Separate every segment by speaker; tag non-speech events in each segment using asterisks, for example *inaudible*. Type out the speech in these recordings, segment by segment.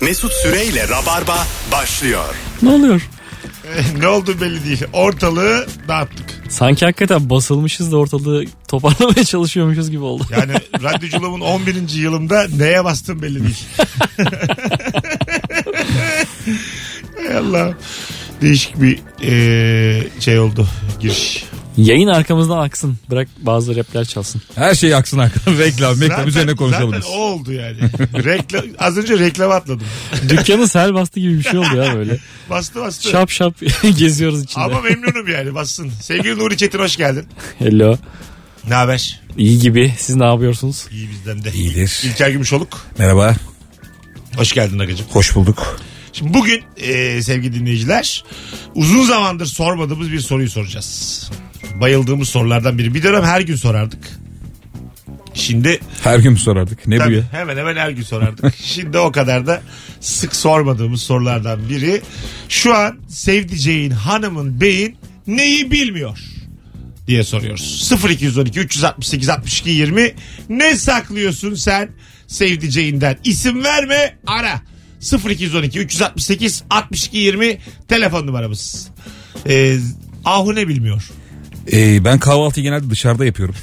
Speaker 1: Mesut Süreyle Rabarba başlıyor.
Speaker 2: Ne oluyor?
Speaker 3: ne oldu belli değil. Ortalığı dağıttık.
Speaker 2: Sanki hakikaten basılmışız da ortalığı toparlamaya *laughs* çalışıyormuşuz gibi oldu.
Speaker 3: Yani radyoculuğumun 11. yılımda neye bastım belli değil. Hay Allah. Değişik bir eee, şey oldu giriş.
Speaker 2: Yayın arkamızdan aksın. Bırak bazı rapler çalsın.
Speaker 4: Her şey aksın *laughs* arkadaşlar. Reklam, reklam üzerine konuşalım
Speaker 3: Zaten
Speaker 4: biz.
Speaker 3: o oldu yani. Rekla, az önce reklam atladım.
Speaker 2: Dükkanı sel bastı gibi bir şey oldu ya
Speaker 3: *laughs*
Speaker 2: böyle.
Speaker 3: Bastı bastı.
Speaker 2: Şap şap *laughs* geziyoruz içinde.
Speaker 3: Ama memnunum yani bassın. Sevgili Nuri Çetin hoş geldin.
Speaker 2: Hello.
Speaker 3: Ne haber?
Speaker 2: İyi gibi. Siz ne yapıyorsunuz?
Speaker 3: İyi bizden de.
Speaker 4: İyidir.
Speaker 3: İlker Gümüşoluk.
Speaker 4: Merhaba.
Speaker 3: Hoş geldin Agacığım.
Speaker 4: Hoş bulduk.
Speaker 3: Şimdi bugün e, sevgili dinleyiciler uzun zamandır sormadığımız bir soruyu soracağız. Bayıldığımız sorulardan biri. Bir dönem her gün sorardık. Şimdi
Speaker 4: Her gün sorardık. Ne bu
Speaker 3: tabii,
Speaker 4: ya?
Speaker 3: hemen hemen her gün sorardık. Şimdi o kadar da sık sormadığımız sorulardan biri. Şu an sevdiceğin hanımın beyin neyi bilmiyor? diye soruyoruz. 0212 368 62 20 ne saklıyorsun sen sevdiceğinden? İsim verme ara. 0212 368 62 20 telefon numaramız. Ee, Ahu ne bilmiyor?
Speaker 4: Ee, ben kahvaltıyı genelde
Speaker 3: *laughs*
Speaker 4: dışarıda yapıyorum.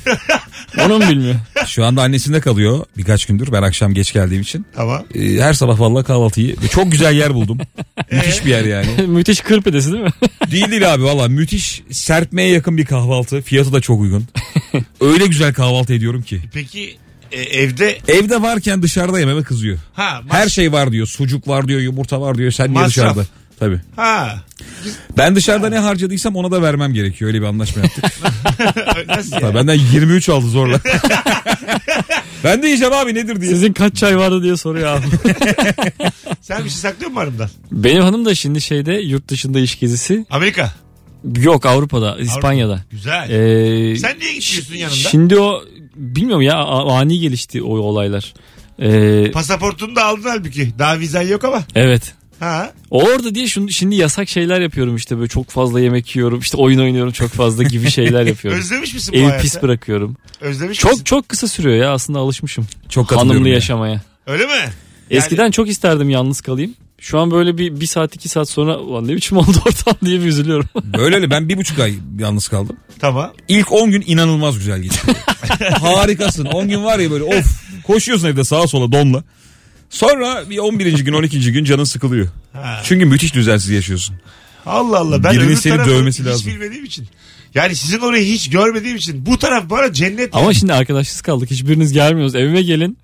Speaker 2: Onu mu bilmiyor? *laughs*
Speaker 4: Şu anda annesinde kalıyor birkaç gündür. Ben akşam geç geldiğim için.
Speaker 3: Tamam.
Speaker 4: Ee, her sabah vallahi kahvaltıyı. Çok güzel
Speaker 3: *laughs*
Speaker 4: yer buldum. müthiş bir yer yani.
Speaker 2: Müthiş kır pidesi değil mi? *laughs*
Speaker 4: Değil değil abi valla müthiş serpmeye yakın bir kahvaltı. Fiyatı da çok
Speaker 3: *laughs*
Speaker 4: uygun. Öyle güzel kahvaltı ediyorum ki.
Speaker 3: Peki e, evde
Speaker 4: Evde varken dışarıda yememe kızıyor.
Speaker 3: ha ma-
Speaker 4: Her şey var diyor. Sucuk var diyor, yumurta var diyor. Sen niye
Speaker 3: Masraf.
Speaker 4: dışarıda? Tabii.
Speaker 3: ha
Speaker 4: Ben dışarıda ne harcadıysam ona da vermem gerekiyor. Öyle bir anlaşma yaptık.
Speaker 3: nasıl yani?
Speaker 4: Ha, benden 23 aldı zorla. ben de yiyeceğim abi nedir diye.
Speaker 2: Sizin kaç çay vardı diye soruyor abi. *laughs*
Speaker 3: Sen bir şey saklıyor musun hanımdan?
Speaker 2: Benim hanım da şimdi şeyde yurt dışında iş gezisi.
Speaker 3: Amerika.
Speaker 2: Yok Avrupa'da, İspanya'da.
Speaker 3: Güzel.
Speaker 2: Ee,
Speaker 3: Sen niye gitmiyorsun yanında?
Speaker 2: Şimdi o bilmiyorum ya a- ani gelişti o olaylar. Ee,
Speaker 3: Pasaportunu da aldın halbuki. Daha vizen yok ama.
Speaker 2: evet.
Speaker 3: Ha.
Speaker 2: Orada diye şunu, şimdi yasak şeyler yapıyorum işte böyle çok fazla yemek yiyorum işte oyun oynuyorum çok fazla gibi
Speaker 3: *laughs*
Speaker 2: şeyler yapıyorum.
Speaker 3: Özlemiş misin bu
Speaker 2: Evi
Speaker 3: hayatı?
Speaker 2: pis bırakıyorum.
Speaker 3: Özlemiş misin?
Speaker 2: Çok çok kısa sürüyor ya aslında alışmışım
Speaker 4: Çok katılıyorum.
Speaker 2: hanımlı
Speaker 4: ya.
Speaker 2: yaşamaya.
Speaker 3: Öyle mi?
Speaker 2: Eskiden çok isterdim yalnız kalayım. Şu an böyle bir, bir saat iki saat sonra ulan ne biçim oldu *laughs* ortam diye bir üzülüyorum.
Speaker 4: Öyle öyle ben bir buçuk ay yalnız kaldım.
Speaker 3: Tamam.
Speaker 4: İlk 10 gün inanılmaz güzel geçti. Harikasın. 10 gün var ya böyle of. Koşuyorsun evde sağa sola donla. Sonra bir 11. gün 12. gün canın sıkılıyor.
Speaker 3: Ha.
Speaker 4: Çünkü müthiş düzensiz yaşıyorsun.
Speaker 3: Allah Allah ben
Speaker 4: Birinin
Speaker 3: öbür
Speaker 4: seni
Speaker 3: tarafı
Speaker 4: dövmesi
Speaker 3: hiç
Speaker 4: lazım.
Speaker 3: bilmediğim için. Yani sizin orayı hiç görmediğim için bu taraf bana cennet.
Speaker 2: Ama *laughs*
Speaker 3: yani.
Speaker 2: şimdi arkadaşsız kaldık hiçbiriniz gelmiyoruz evime gelin.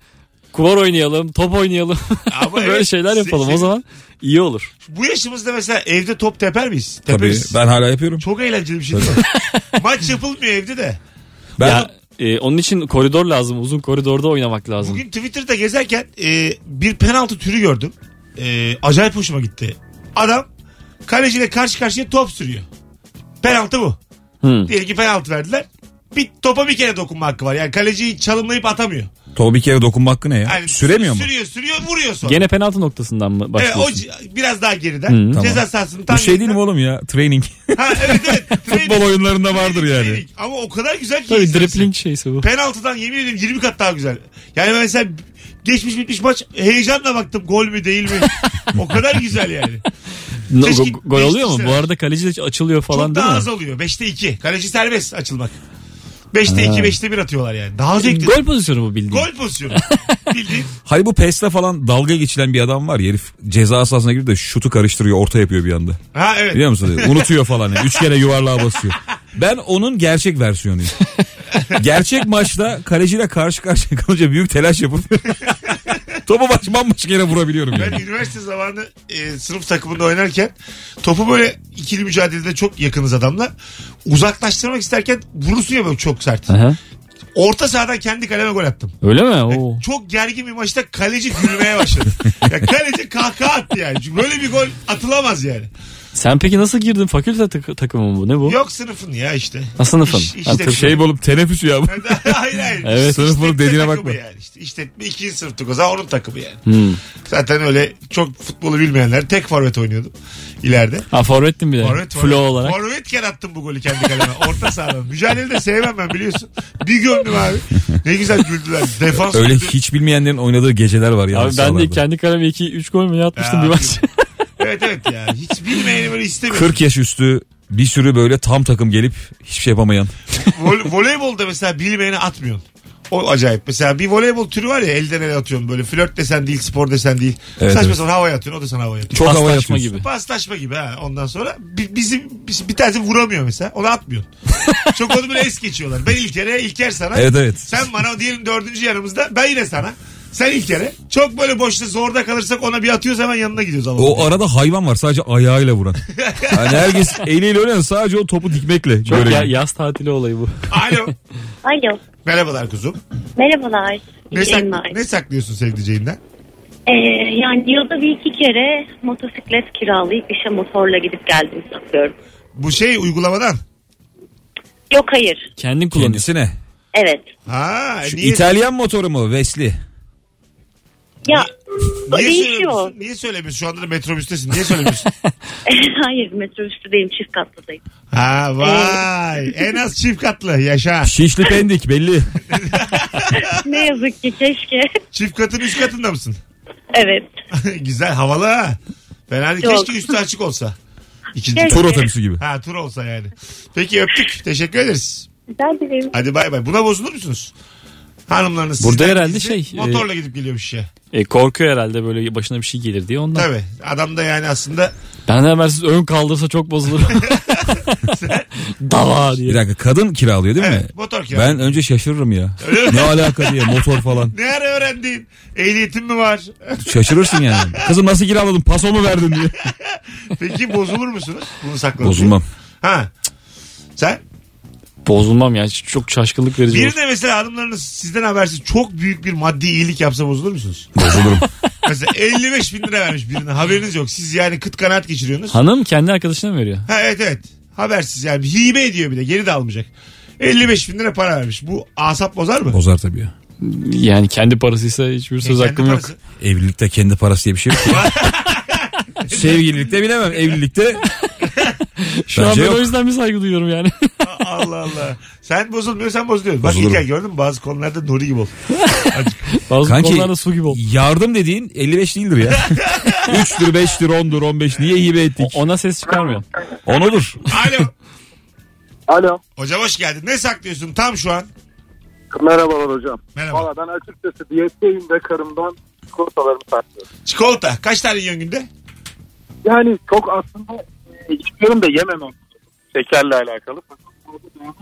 Speaker 2: Kumar oynayalım, top oynayalım. *laughs*
Speaker 3: Ama
Speaker 2: Böyle
Speaker 3: evet,
Speaker 2: şeyler
Speaker 3: se- şey-
Speaker 2: yapalım.
Speaker 3: se-
Speaker 2: O zaman iyi olur.
Speaker 3: Bu yaşımızda mesela evde top teper miyiz?
Speaker 4: Tabii
Speaker 3: Teperiz.
Speaker 4: ben hala yapıyorum.
Speaker 3: Çok eğlenceli bir şey
Speaker 2: *laughs*
Speaker 3: değil mi? Maç yapılmıyor evde de.
Speaker 4: Ben
Speaker 2: Ya e, onun için koridor lazım. Uzun koridorda oynamak lazım.
Speaker 3: Bugün Twitter'da gezerken e, bir penaltı türü gördüm. E, acayip hoşuma gitti. Adam kaleciyle karşı karşıya top sürüyor. Penaltı bu. *laughs*
Speaker 2: Hı.
Speaker 3: Diyelim ki penaltı verdiler. Bir topa bir kere dokunma hakkı var. Yani kaleciyi çalımlayıp atamıyor.
Speaker 4: Topa bir kere dokunma hakkı ne ya?
Speaker 3: Yani
Speaker 4: Süremiyor mu?
Speaker 3: Sürüyor sürüyor vuruyor sonra.
Speaker 2: Gene penaltı noktasından mı
Speaker 3: Evet,
Speaker 2: başlıyorsun?
Speaker 3: E, o c- biraz daha geriden.
Speaker 2: Hı.
Speaker 3: Ceza
Speaker 4: Tamam.
Speaker 3: sahasının tam
Speaker 4: Bu şey değil mi
Speaker 3: gerisinden-
Speaker 4: oğlum ya? Training.
Speaker 3: *laughs* Ha, evet evet.
Speaker 4: *laughs* Futbol
Speaker 3: Training,
Speaker 4: oyunlarında vardır yani.
Speaker 3: training. Ama o kadar güzel ki.
Speaker 2: Tabii
Speaker 3: izlemesi.
Speaker 2: dripling şeysi bu.
Speaker 3: Penaltıdan yemin ediyorum 20 kat daha güzel. Yani ben mesela geçmiş bitmiş maç heyecanla baktım gol mü değil
Speaker 2: *laughs*
Speaker 3: mi? o kadar güzel yani.
Speaker 2: No,
Speaker 3: Keşke
Speaker 2: go- gol oluyor mu?
Speaker 3: değiştirseler.
Speaker 2: Bu arada kaleci de açılıyor falan
Speaker 3: Çok
Speaker 2: değil
Speaker 3: daha
Speaker 2: mi?
Speaker 3: az oluyor. 5'te 2. Kaleci serbest açılmak. 5'te 2, 5'te 1 atıyorlar yani. Daha zevkli. Gol,
Speaker 2: Gol pozisyonu bu bildiğin.
Speaker 3: pozisyonu.
Speaker 2: *laughs*
Speaker 3: Bildiğin.
Speaker 4: Hani bu PES'le falan dalga geçilen bir adam var ya herif ceza sahasına girip de şutu karıştırıyor orta yapıyor bir anda.
Speaker 3: Ha evet.
Speaker 4: Biliyor musun? Unutuyor falan. yani. Üç kere yuvarlığa basıyor. Ben onun gerçek versiyonuyum. Gerçek maçta kaleciyle karşı karşıya kalınca büyük telaş yapıp *laughs* topu baş bambaşka yere vurabiliyorum
Speaker 3: Ben
Speaker 4: yani.
Speaker 3: üniversite zamanı e, sınıf takımında oynarken topu böyle ikili mücadelede çok yakınız adamla. Uzaklaştırmak isterken vurursun ya böyle çok sert.
Speaker 2: Aha.
Speaker 3: Orta sahadan kendi kaleme gol attım.
Speaker 2: Öyle mi? Oo.
Speaker 3: Çok gergin bir maçta kaleci gülmeye
Speaker 2: *laughs*
Speaker 3: başladı. ya kaleci kahkaha attı yani. Çünkü böyle bir gol atılamaz yani.
Speaker 2: Sen peki nasıl girdin? Fakülte tak- takımı mı bu? Ne bu?
Speaker 3: Yok sınıfın ya işte.
Speaker 2: Ha, sınıfın.
Speaker 3: İş-
Speaker 2: Ha,
Speaker 3: işletme.
Speaker 2: tabii. Şey
Speaker 4: olup teneffüs ya bu.
Speaker 3: *laughs* hayır hayır.
Speaker 2: *laughs* Evet.
Speaker 4: Sınıf olup
Speaker 3: İşletme
Speaker 4: dediğine
Speaker 3: takımı
Speaker 4: bakma.
Speaker 3: Yani. İşte işletme ikinci sınıftık o zaman onun takımı yani.
Speaker 2: Hmm.
Speaker 3: Zaten öyle çok futbolu bilmeyenler tek forvet oynuyordum ileride.
Speaker 2: Ha forvettin bir de.
Speaker 3: Forvet,
Speaker 2: Flo
Speaker 3: forvet.
Speaker 2: olarak.
Speaker 3: Forvetken attım bu golü kendi kaleme. Orta sahada. Mücadele de sevmem ben biliyorsun. Bir gömdüm abi. Ne güzel güldüler. Defans
Speaker 4: Öyle hiç bilmeyenlerin oynadığı geceler var ya.
Speaker 2: Abi ben de kendi kaleme 2-3 gol mü ne atmıştım
Speaker 3: Ya
Speaker 2: bir
Speaker 3: abi. *laughs*
Speaker 2: maç.
Speaker 3: Evet evet ya. Hiç
Speaker 2: *laughs*
Speaker 3: bilmeyeni böyle istemiyorum.
Speaker 4: 40 yaş üstü bir sürü böyle tam takım gelip hiçbir şey yapamayan.
Speaker 3: Vol- voleybolda mesela bilmeyeni atmıyorsun. O acayip. Mesela bir voleybol türü var ya elden ele atıyorsun böyle. Flört desen değil, spor desen değil.
Speaker 4: Evet,
Speaker 3: Saçma
Speaker 4: evet.
Speaker 3: sapan havaya atıyorsun, o da sana havaya atıyor.
Speaker 4: Çok hava
Speaker 2: Paslaşma
Speaker 4: yapıyorsun.
Speaker 2: gibi.
Speaker 3: Paslaşma gibi ha ondan sonra. bi- Bizim biz- bir tanesi vuramıyor mesela. Onu
Speaker 4: *laughs*
Speaker 3: atmıyorsun. Çok onu böyle es geçiyorlar. Ben İlker'e, İlker sana.
Speaker 4: Evet, evet.
Speaker 3: Sen bana o diyelim dördüncü yanımızda. Ben yine sana. Sen İlker'e. Çok böyle boşta zorda kalırsak ona bir atıyoruz hemen yanına gidiyoruz. Ama.
Speaker 4: O arada hayvan var sadece ayağıyla vuran. Yani herkes eliyle oynayan sadece o topu dikmekle.
Speaker 2: Çok
Speaker 4: görev.
Speaker 2: ya- yaz tatili olayı bu.
Speaker 3: Alo.
Speaker 5: Alo.
Speaker 3: Merhabalar kuzum.
Speaker 5: Merhabalar.
Speaker 3: Ne, sak-
Speaker 5: Yayınlar.
Speaker 3: ne saklıyorsun sevdiceğinden?
Speaker 5: Ee, yani yılda bir iki kere motosiklet kiralayıp işe motorla gidip geldiğimi saklıyorum.
Speaker 3: Bu şey uygulamadan.
Speaker 5: Yok hayır.
Speaker 2: Kendin kullanıyorsun.
Speaker 4: Kendisi ne?
Speaker 5: Evet.
Speaker 3: Ha,
Speaker 4: Şu
Speaker 3: niye,
Speaker 4: İtalyan motoru mu? Vesli.
Speaker 5: Ya
Speaker 3: niye
Speaker 5: değişiyor.
Speaker 3: söylemiyorsun? Niye söylemiyorsun? Şu anda da metrobüstesin. Niye söylemiyorsun?
Speaker 5: *laughs* hayır metrobüste değilim çift katlıdayım.
Speaker 3: ha vay. en az çift katlı. Yaşa.
Speaker 4: Şişli pendik belli.
Speaker 5: ne yazık ki keşke. *laughs*
Speaker 3: Çift katın üst katında mısın? *laughs*
Speaker 5: evet.
Speaker 3: Güzel havalı ha. Ben hani
Speaker 5: Yok.
Speaker 3: keşke üstü açık olsa. İkinci
Speaker 5: Keşke.
Speaker 4: Tur otobüsü gibi.
Speaker 3: Ha tur olsa yani. Peki öptük. Teşekkür ederiz.
Speaker 5: Güzel dilerim.
Speaker 3: Hadi bay bay. Buna bozulur musunuz? Hanımlarınız
Speaker 2: Burada
Speaker 3: sizden
Speaker 2: herhalde
Speaker 3: gizli
Speaker 2: şey,
Speaker 3: Motorla gidip geliyor bir şey.
Speaker 2: E, korkuyor herhalde böyle başına bir şey gelir diye ondan.
Speaker 3: Tabii. Adam da yani aslında
Speaker 2: Ben de habersiz ön kaldırsa çok
Speaker 3: *laughs*
Speaker 2: bozulur. Dava
Speaker 4: Bir
Speaker 2: diye.
Speaker 4: dakika kadın kiralıyor değil mi?
Speaker 3: evet, motor kiralı.
Speaker 4: Ben önce şaşırırım ya.
Speaker 3: Öyle mi?
Speaker 4: ne alaka diye motor falan.
Speaker 3: Ne ara öğrendin? Ehliyetin
Speaker 2: *laughs*
Speaker 3: mi var?
Speaker 4: Şaşırırsın yani. Kızım nasıl kiraladın? Paso mu verdin diye.
Speaker 3: Peki bozulur musunuz? Bunu sakladın.
Speaker 4: Bozulmam.
Speaker 3: Ha. Sen?
Speaker 2: Bozulmam ya çok şaşkınlık verici. olur.
Speaker 3: Bir de mesela hanımlarınız sizden habersiz çok büyük bir maddi iyilik yapsa bozulur musunuz?
Speaker 4: Bozulurum.
Speaker 3: Mesela 55 bin lira vermiş birine haberiniz yok. Siz yani kıt kanaat geçiriyorsunuz.
Speaker 2: Hanım kendi arkadaşına mı veriyor?
Speaker 3: Ha, evet evet. Habersiz yani. Hibe ediyor bir de. Geri de almayacak. 55 bin lira para vermiş. Bu asap bozar mı?
Speaker 4: Bozar tabii ya.
Speaker 2: Yani kendi parasıysa hiçbir söz
Speaker 3: Kendi
Speaker 2: hakkım yok.
Speaker 3: parası.
Speaker 4: Evlilikte kendi parası diye bir şey yok. Sevgililikte bilemem. Evlilikte
Speaker 2: Şu an
Speaker 4: Bence
Speaker 2: ben
Speaker 4: yok.
Speaker 2: o yüzden bir saygı duyuyorum
Speaker 4: *laughs*
Speaker 2: yani.
Speaker 3: A- Allah Allah. Sen bozulmuyor sen bozuluyorsun. Bak
Speaker 4: Bozulurum.
Speaker 3: İlker gördün mü bazı konularda Nuri gibi ol.
Speaker 2: Bazı
Speaker 4: Kanki-
Speaker 2: konularda su gibi oldu.
Speaker 4: yardım dediğin 55 değildir ya. *laughs* 3'tür, 5'tir, 10'dur, 15. Niye hibe ettik?
Speaker 2: O- Ona ses çıkarmıyor.
Speaker 4: Onudur.
Speaker 3: Alo.
Speaker 6: Alo.
Speaker 3: Hocam hoş geldin. Ne saklıyorsun tam şu an?
Speaker 6: Merhabalar hocam.
Speaker 3: Merhaba.
Speaker 6: Valla ben açıkçası diyetteyim de karımdan çikolatalarımı saklıyorum.
Speaker 3: Çikolata. Kaç tane yiyorsun günde?
Speaker 6: Yani çok aslında e, istiyorum da yememem. Şekerle alakalı.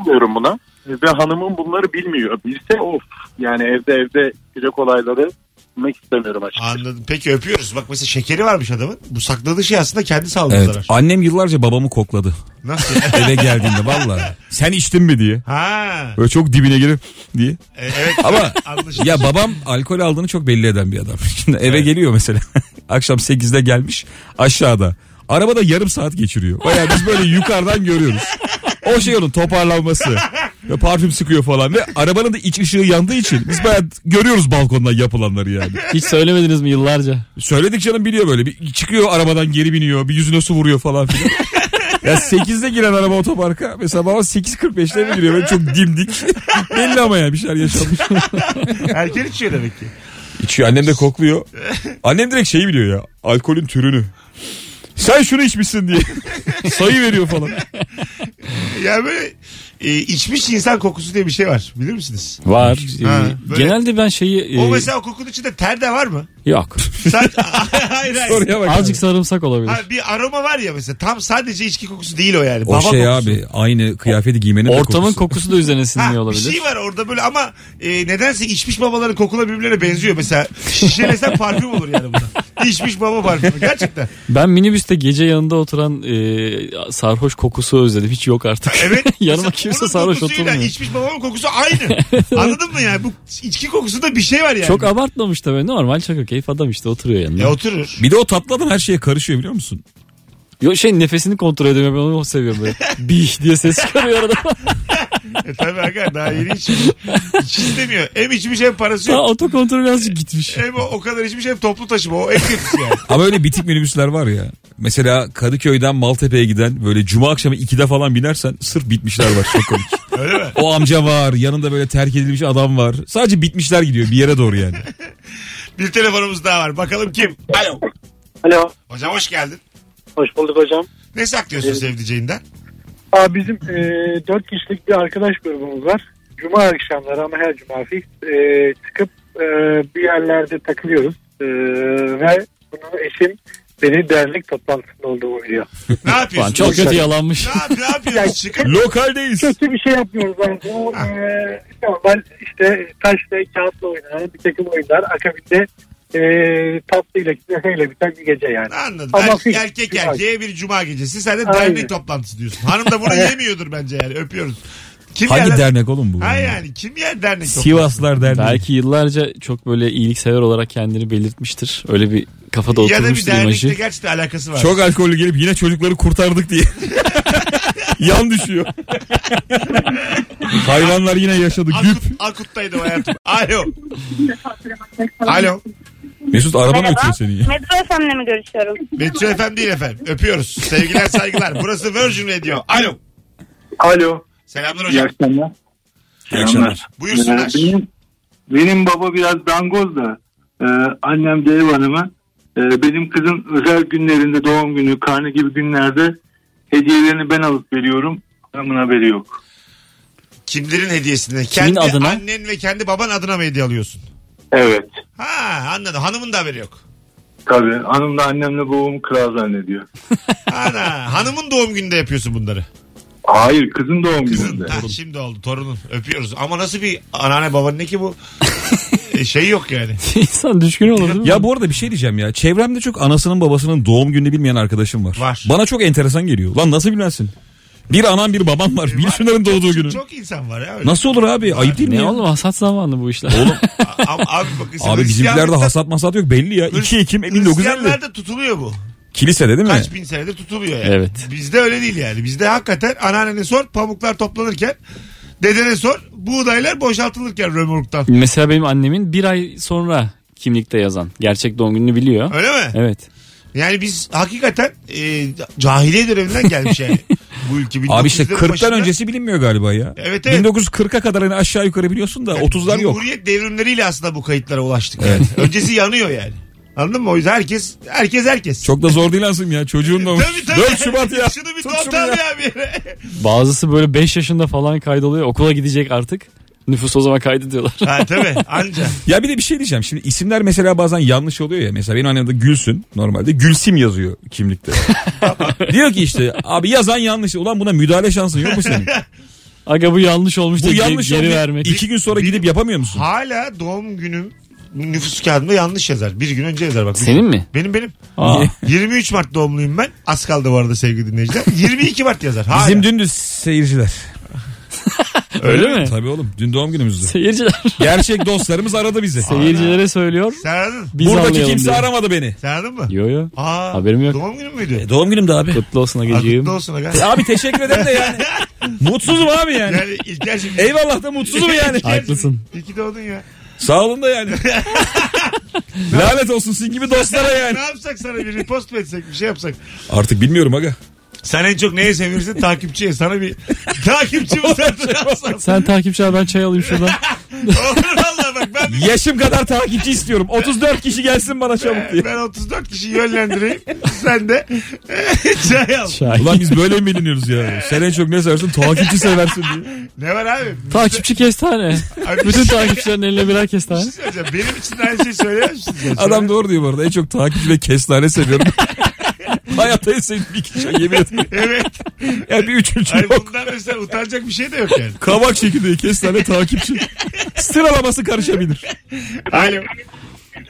Speaker 6: Bilmiyorum buna. E, Ve hanımım bunları bilmiyor. Bilse of. Yani evde evde sıcak olayları bilmek istemiyorum açıkçası.
Speaker 3: Anladım. Peki öpüyoruz. Bak mesela şekeri varmış adamın. Bu sakladığı şey aslında kendi sağlığına
Speaker 4: Evet.
Speaker 3: zarar.
Speaker 4: Annem yıllarca babamı *laughs* kokladı.
Speaker 3: Nasıl? yani?
Speaker 4: Eve geldiğinde valla. Sen içtin mi diye.
Speaker 3: *laughs* ha.
Speaker 4: Böyle çok dibine girip diye.
Speaker 3: E, evet.
Speaker 4: Ama
Speaker 3: Anlaşıldı.
Speaker 4: ya babam alkol aldığını çok belli eden bir adam. *laughs* Şimdi eve geliyor mesela. *laughs* Akşam 8'de gelmiş aşağıda. Arabada yarım saat geçiriyor. Baya biz böyle yukarıdan görüyoruz. O şey onun toparlanması. Ve parfüm sıkıyor falan. Ve arabanın da iç ışığı yandığı için biz baya görüyoruz balkondan yapılanları yani.
Speaker 2: Hiç söylemediniz mi yıllarca?
Speaker 4: Söyledik canım biliyor böyle. Bir çıkıyor arabadan geri biniyor. Bir yüzüne su vuruyor falan filan. Ya 8'de giren araba otoparka. Mesela baba 8.45'te mi giriyor? Böyle çok dimdik. *laughs* belli ama ya bir şeyler yaşanmış.
Speaker 3: Erken içiyor demek ki.
Speaker 4: İçiyor annem de kokluyor. Annem direkt şeyi biliyor ya. Alkolün türünü. Sen şunu içmişsin diye. *laughs* Sayı veriyor falan.
Speaker 3: Ya böyle e, içmiş insan kokusu diye bir şey var. Bilir misiniz?
Speaker 2: Var.
Speaker 3: Ha,
Speaker 2: Ee,
Speaker 3: böyle-
Speaker 2: Genelde ben şeyi...
Speaker 3: O
Speaker 2: e,
Speaker 3: mesela o kokunun içinde ter de var mı?
Speaker 4: *laughs*
Speaker 2: Yok.
Speaker 3: Sadece, *laughs* hayır hayır.
Speaker 4: Soruya bak.
Speaker 2: Azıcık sarımsak olabilir.
Speaker 3: Ha, bir aroma var ya mesela tam sadece içki kokusu değil o yani. Baba
Speaker 4: o şey
Speaker 3: kokusu.
Speaker 4: abi aynı kıyafeti giymenin de
Speaker 2: Ortamın
Speaker 4: kokusu.
Speaker 2: kokusu da üzerine
Speaker 3: Ha,
Speaker 2: sinmiyor olabilir.
Speaker 3: Bir şey var orada böyle ama e, nedense içmiş babaların kokuna birbirlerine benziyor. Mesela şişelesen parfüm olur yani buna. İçmiş baba parfümü gerçekten.
Speaker 2: Ben minibüste gece yanında oturan e, sarhoş kokusu özledim. Hiç yok artık.
Speaker 3: *laughs* Evet.
Speaker 2: *laughs* Yanıma
Speaker 3: Mesela
Speaker 2: kimse
Speaker 3: onun
Speaker 2: sarhoş
Speaker 3: kokusuyla
Speaker 2: oturmuyor.
Speaker 3: İçmiş babamın kokusu
Speaker 2: *laughs*
Speaker 3: aynı. Anladın mı yani? Bu içki kokusunda bir şey var yani.
Speaker 2: Çok abartmamış tabii. Normal çakır keyif adam işte oturuyor yanında.
Speaker 3: ya oturur.
Speaker 4: Bir de o tatlı adam her şeye karışıyor biliyor musun?
Speaker 2: Yo, şey nefesini kontrol edemiyorum. Ben onu seviyorum
Speaker 3: *laughs*
Speaker 2: böyle. Bih diye ses çıkarıyor arada.
Speaker 3: E tabii aga daha yeni içmiş. Hiç istemiyor. Hem içmiş hem parası
Speaker 2: Daha
Speaker 3: yok.
Speaker 2: otokontrol azıcık gitmiş.
Speaker 3: Hem o, o kadar içmiş hem toplu taşıma. O en kötüsü yani.
Speaker 4: Ama öyle bitik minibüsler var ya. Mesela Kadıköy'den Maltepe'ye giden böyle cuma akşamı 2'de falan binersen sırf bitmişler var. Çok komik.
Speaker 3: Öyle mi?
Speaker 4: *laughs* O amca var yanında böyle terk edilmiş adam var. Sadece bitmişler gidiyor bir yere doğru yani.
Speaker 3: Bir telefonumuz daha var. Bakalım kim? Alo.
Speaker 7: Alo.
Speaker 3: Hocam hoş geldin.
Speaker 7: Hoş bulduk hocam.
Speaker 3: Ne saklıyorsun sevdiceğinden?
Speaker 7: Abi bizim e, 4 kişilik bir arkadaş grubumuz var. Cuma akşamları ama her cuma fix e, çıkıp e, bir yerlerde takılıyoruz. E, ve bunu eşim beni dernek toplantısında olduğumu biliyor.
Speaker 3: Ne
Speaker 2: Ulan
Speaker 3: yapıyorsun?
Speaker 2: çok kötü yalanmış.
Speaker 3: Ne, yap- ne yapıyorsun? Çıkıp
Speaker 4: Lokaldeyiz.
Speaker 7: Kötü bir şey yapmıyoruz yani. Bu
Speaker 6: Ah.
Speaker 7: e, normal işte taşla kağıtla oynanan bir takım oyunlar. Akabinde e, tatlıyla ile biten bir gece yani.
Speaker 3: Anladım.
Speaker 7: Ama
Speaker 3: Erkek-
Speaker 7: fix,
Speaker 3: erkek
Speaker 7: cuma.
Speaker 3: erkeğe bir cuma gecesi. Sen de
Speaker 7: Aynen.
Speaker 3: dernek toplantısı diyorsun. Hanım da
Speaker 7: *laughs*
Speaker 3: bunu yemiyordur bence yani. Öpüyoruz. Kim
Speaker 2: Hani
Speaker 3: yer
Speaker 4: Hangi
Speaker 3: lan-
Speaker 4: dernek oğlum bu?
Speaker 3: Hayır yani kim yer dernek toplantısı?
Speaker 4: Sivaslar derneği.
Speaker 2: Belki yıllarca çok böyle iyiliksever olarak kendini belirtmiştir. Öyle bir kafada
Speaker 3: Ya da bir
Speaker 2: oturmuştur
Speaker 3: dernekte
Speaker 2: imajı.
Speaker 3: gerçekten alakası var.
Speaker 4: Çok alkollü gelip yine çocukları kurtardık diye. *laughs* Yan düşüyor. Hayvanlar yine yaşadı güp.
Speaker 3: Akut, Akut'taydım hayatım. Alo. Alo.
Speaker 4: Mesut araba mı ötüyor senin ya?
Speaker 8: Metro FM'le mi görüşüyorum?
Speaker 3: Betül efendim değil efendim. Öpüyoruz. Sevgiler saygılar. Burası Virgin Radio. Alo.
Speaker 6: Alo.
Speaker 3: Selamlar
Speaker 6: İyi
Speaker 3: hocam.
Speaker 6: akşamlar. Selamlar.
Speaker 3: Buyursunlar.
Speaker 6: Ee, benim, benim baba biraz dangoz da e, annem de ev hanımı. E, benim kızın özel günlerinde doğum günü, karne gibi günlerde hediyelerini ben alıp veriyorum. Hanımın haberi yok.
Speaker 3: Kimlerin hediyesini?
Speaker 2: Kimin
Speaker 3: Kendi
Speaker 2: adına?
Speaker 3: annen ve kendi baban adına mı hediye alıyorsun?
Speaker 6: Evet.
Speaker 3: Ha anladım. Hanımın da haberi yok.
Speaker 6: Tabii. Hanım da annemle babamı kral zannediyor.
Speaker 3: Ana. Hanımın doğum gününde yapıyorsun bunları.
Speaker 6: Hayır kızın doğum gününde.
Speaker 3: Ha, şimdi oldu torunun. Öpüyoruz. Ama nasıl bir anneanne baban ne ki bu? E, şey yok
Speaker 4: *laughs*
Speaker 3: yani.
Speaker 2: *laughs* İnsan düşkün olur değil mi?
Speaker 4: Ya bu arada bir şey diyeceğim ya. Çevremde çok anasının babasının doğum gününü bilmeyen arkadaşım var.
Speaker 3: Var.
Speaker 4: Bana çok enteresan geliyor. Lan nasıl bilmezsin? Bir anan bir babam var. Bil şunların doğduğu günü.
Speaker 3: Çok insan var ya. Öyle.
Speaker 4: Nasıl olur abi? Ayıp değil mi
Speaker 2: ne
Speaker 4: ya?
Speaker 2: oğlum hasat zamanı bu işler. Oğlum
Speaker 3: Abi, abi, bak,
Speaker 4: Abi bizimkilerde hasat masat yok belli ya. 2 Ekim 1950.
Speaker 3: Hristiyanlarda tutuluyor bu.
Speaker 4: Kilisede değil mi?
Speaker 3: Kaç bin senedir tutuluyor yani.
Speaker 2: Evet.
Speaker 3: Bizde öyle değil yani. Bizde hakikaten anneannene sor pamuklar toplanırken dedene sor buğdaylar boşaltılırken römorktan.
Speaker 2: *laughs* mesela benim annemin bir ay sonra kimlikte yazan. Gerçek doğum gününü biliyor.
Speaker 3: Öyle mi?
Speaker 2: Evet.
Speaker 3: Yani biz hakikaten e, cahiliye döneminden gelmiş yani. bu ülke.
Speaker 4: *laughs* Abi işte
Speaker 3: 1900'lerin
Speaker 4: 40'tan
Speaker 3: başında-
Speaker 4: öncesi bilinmiyor galiba ya.
Speaker 3: Evet, evet.
Speaker 4: 1940'a kadar hani aşağı yukarı biliyorsun da 30'lar yok.
Speaker 3: Cumhuriyet devrimleriyle aslında bu kayıtlara ulaştık. Yani. Öncesi yanıyor yani. Anladın mı? O yüzden herkes herkes herkes.
Speaker 4: Çok da zor değil aslında ya çocuğun da.
Speaker 3: Tabii, tabii.
Speaker 4: 4 Şubat ya.
Speaker 3: Şunu bir
Speaker 4: Tut
Speaker 3: not
Speaker 4: şunu
Speaker 3: al
Speaker 4: ya.
Speaker 3: ya bir yere.
Speaker 2: Bazısı böyle 5 yaşında falan kaydoluyor. Okula gidecek artık. Nüfus o zaman
Speaker 4: *laughs*
Speaker 2: kaydediyorlar.
Speaker 3: ha tabii anca.
Speaker 4: Ya bir de bir şey diyeceğim. Şimdi isimler mesela bazen yanlış oluyor ya. Mesela benim annem de Gülsün normalde. Gülsim yazıyor
Speaker 3: *laughs*
Speaker 4: kimlikte. Diyor ki işte abi yazan yanlış. Ulan buna müdahale şansın yok
Speaker 3: *laughs*
Speaker 4: mu senin?
Speaker 2: Aga bu yanlış olmuş
Speaker 4: Bu
Speaker 2: da geri,
Speaker 4: yanlış
Speaker 2: geri
Speaker 4: olmuyor.
Speaker 2: vermek.
Speaker 4: İki gün sonra gidip yapamıyor musun?
Speaker 3: Hala doğum günüm nüfus kağıdımda yanlış yazar. Bir gün önce yazar bak.
Speaker 2: Senin mi?
Speaker 3: Benim benim.
Speaker 2: Aa.
Speaker 3: 23 Mart doğumluyum ben. Az kaldı bu arada sevgili dinleyiciler. 22 Mart yazar. Hala.
Speaker 4: Bizim dündüz seyirciler.
Speaker 2: *laughs* Öyle mi?
Speaker 4: Tabii oğlum dün doğum
Speaker 2: *laughs*
Speaker 4: günümüzdü.
Speaker 2: Seyirciler,
Speaker 4: Gerçek dostlarımız aradı bizi.
Speaker 2: seyircilere söylüyor.
Speaker 3: Sen aradın.
Speaker 2: Biz
Speaker 4: Buradaki
Speaker 2: anlayalım
Speaker 4: kimse
Speaker 2: diye.
Speaker 4: aramadı beni.
Speaker 3: Sen aradın mı?
Speaker 2: Yo yo.
Speaker 3: Aa,
Speaker 2: Haberim yok. Ee,
Speaker 3: E, Doğum günü müydü?
Speaker 4: doğum günümdü abi.
Speaker 2: Kutlu olsun
Speaker 3: Kutlu
Speaker 2: Ageciğim.
Speaker 3: olsun aga.
Speaker 4: Abi teşekkür ederim de yani.
Speaker 3: *laughs*
Speaker 4: Mutsuzum abi yani.
Speaker 3: Yani şey- İlker şimdi.
Speaker 4: Eyvallah da
Speaker 3: *laughs*
Speaker 4: mutsuzum yani.
Speaker 2: *laughs* Haklısın.
Speaker 3: İyi ki şey- doğdun ya.
Speaker 4: Sağ olun da yani. Lanet olsun sizin gibi dostlara yani.
Speaker 3: Ne yapsak sana bir repost mu etsek bir şey yapsak.
Speaker 4: Artık bilmiyorum aga.
Speaker 3: Sen en çok neye sevinirsin? Takipçiye. Sana bir
Speaker 2: *laughs*
Speaker 3: takipçi mi satın
Speaker 2: Sen takipçi abi ben çay alayım
Speaker 4: *laughs*
Speaker 2: şuradan.
Speaker 3: Olur valla bak ben
Speaker 4: Yaşım kadar takipçi istiyorum. 34 kişi gelsin bana çabuk diye.
Speaker 3: ben 34 kişiyi yönlendireyim. Sen de *laughs* çay al.
Speaker 2: Çay.
Speaker 4: Ulan biz böyle mi biliniyoruz ya? Sen en çok ne seversin? Takipçi seversin diye.
Speaker 3: Ne var abi?
Speaker 2: Takipçi kestane.
Speaker 3: Abi-
Speaker 2: Bütün takipçilerin eline birer
Speaker 3: Bir
Speaker 2: kestane.
Speaker 3: şey söyleyeceğim. Benim için de aynı şeyi söyler misiniz? ya?
Speaker 4: Adam doğru diyor bu arada. En çok takipçi ve kestane seviyorum. Hayatta en sevdiğim iki şey yemin ederim.
Speaker 3: Evet.
Speaker 4: Yani bir üçüncü
Speaker 3: Hayır,
Speaker 4: yok.
Speaker 3: bundan mesela utanacak bir şey de yok yani.
Speaker 4: Kavak şekilde kestane takipçi. Sıralaması karışabilir.
Speaker 3: Alo.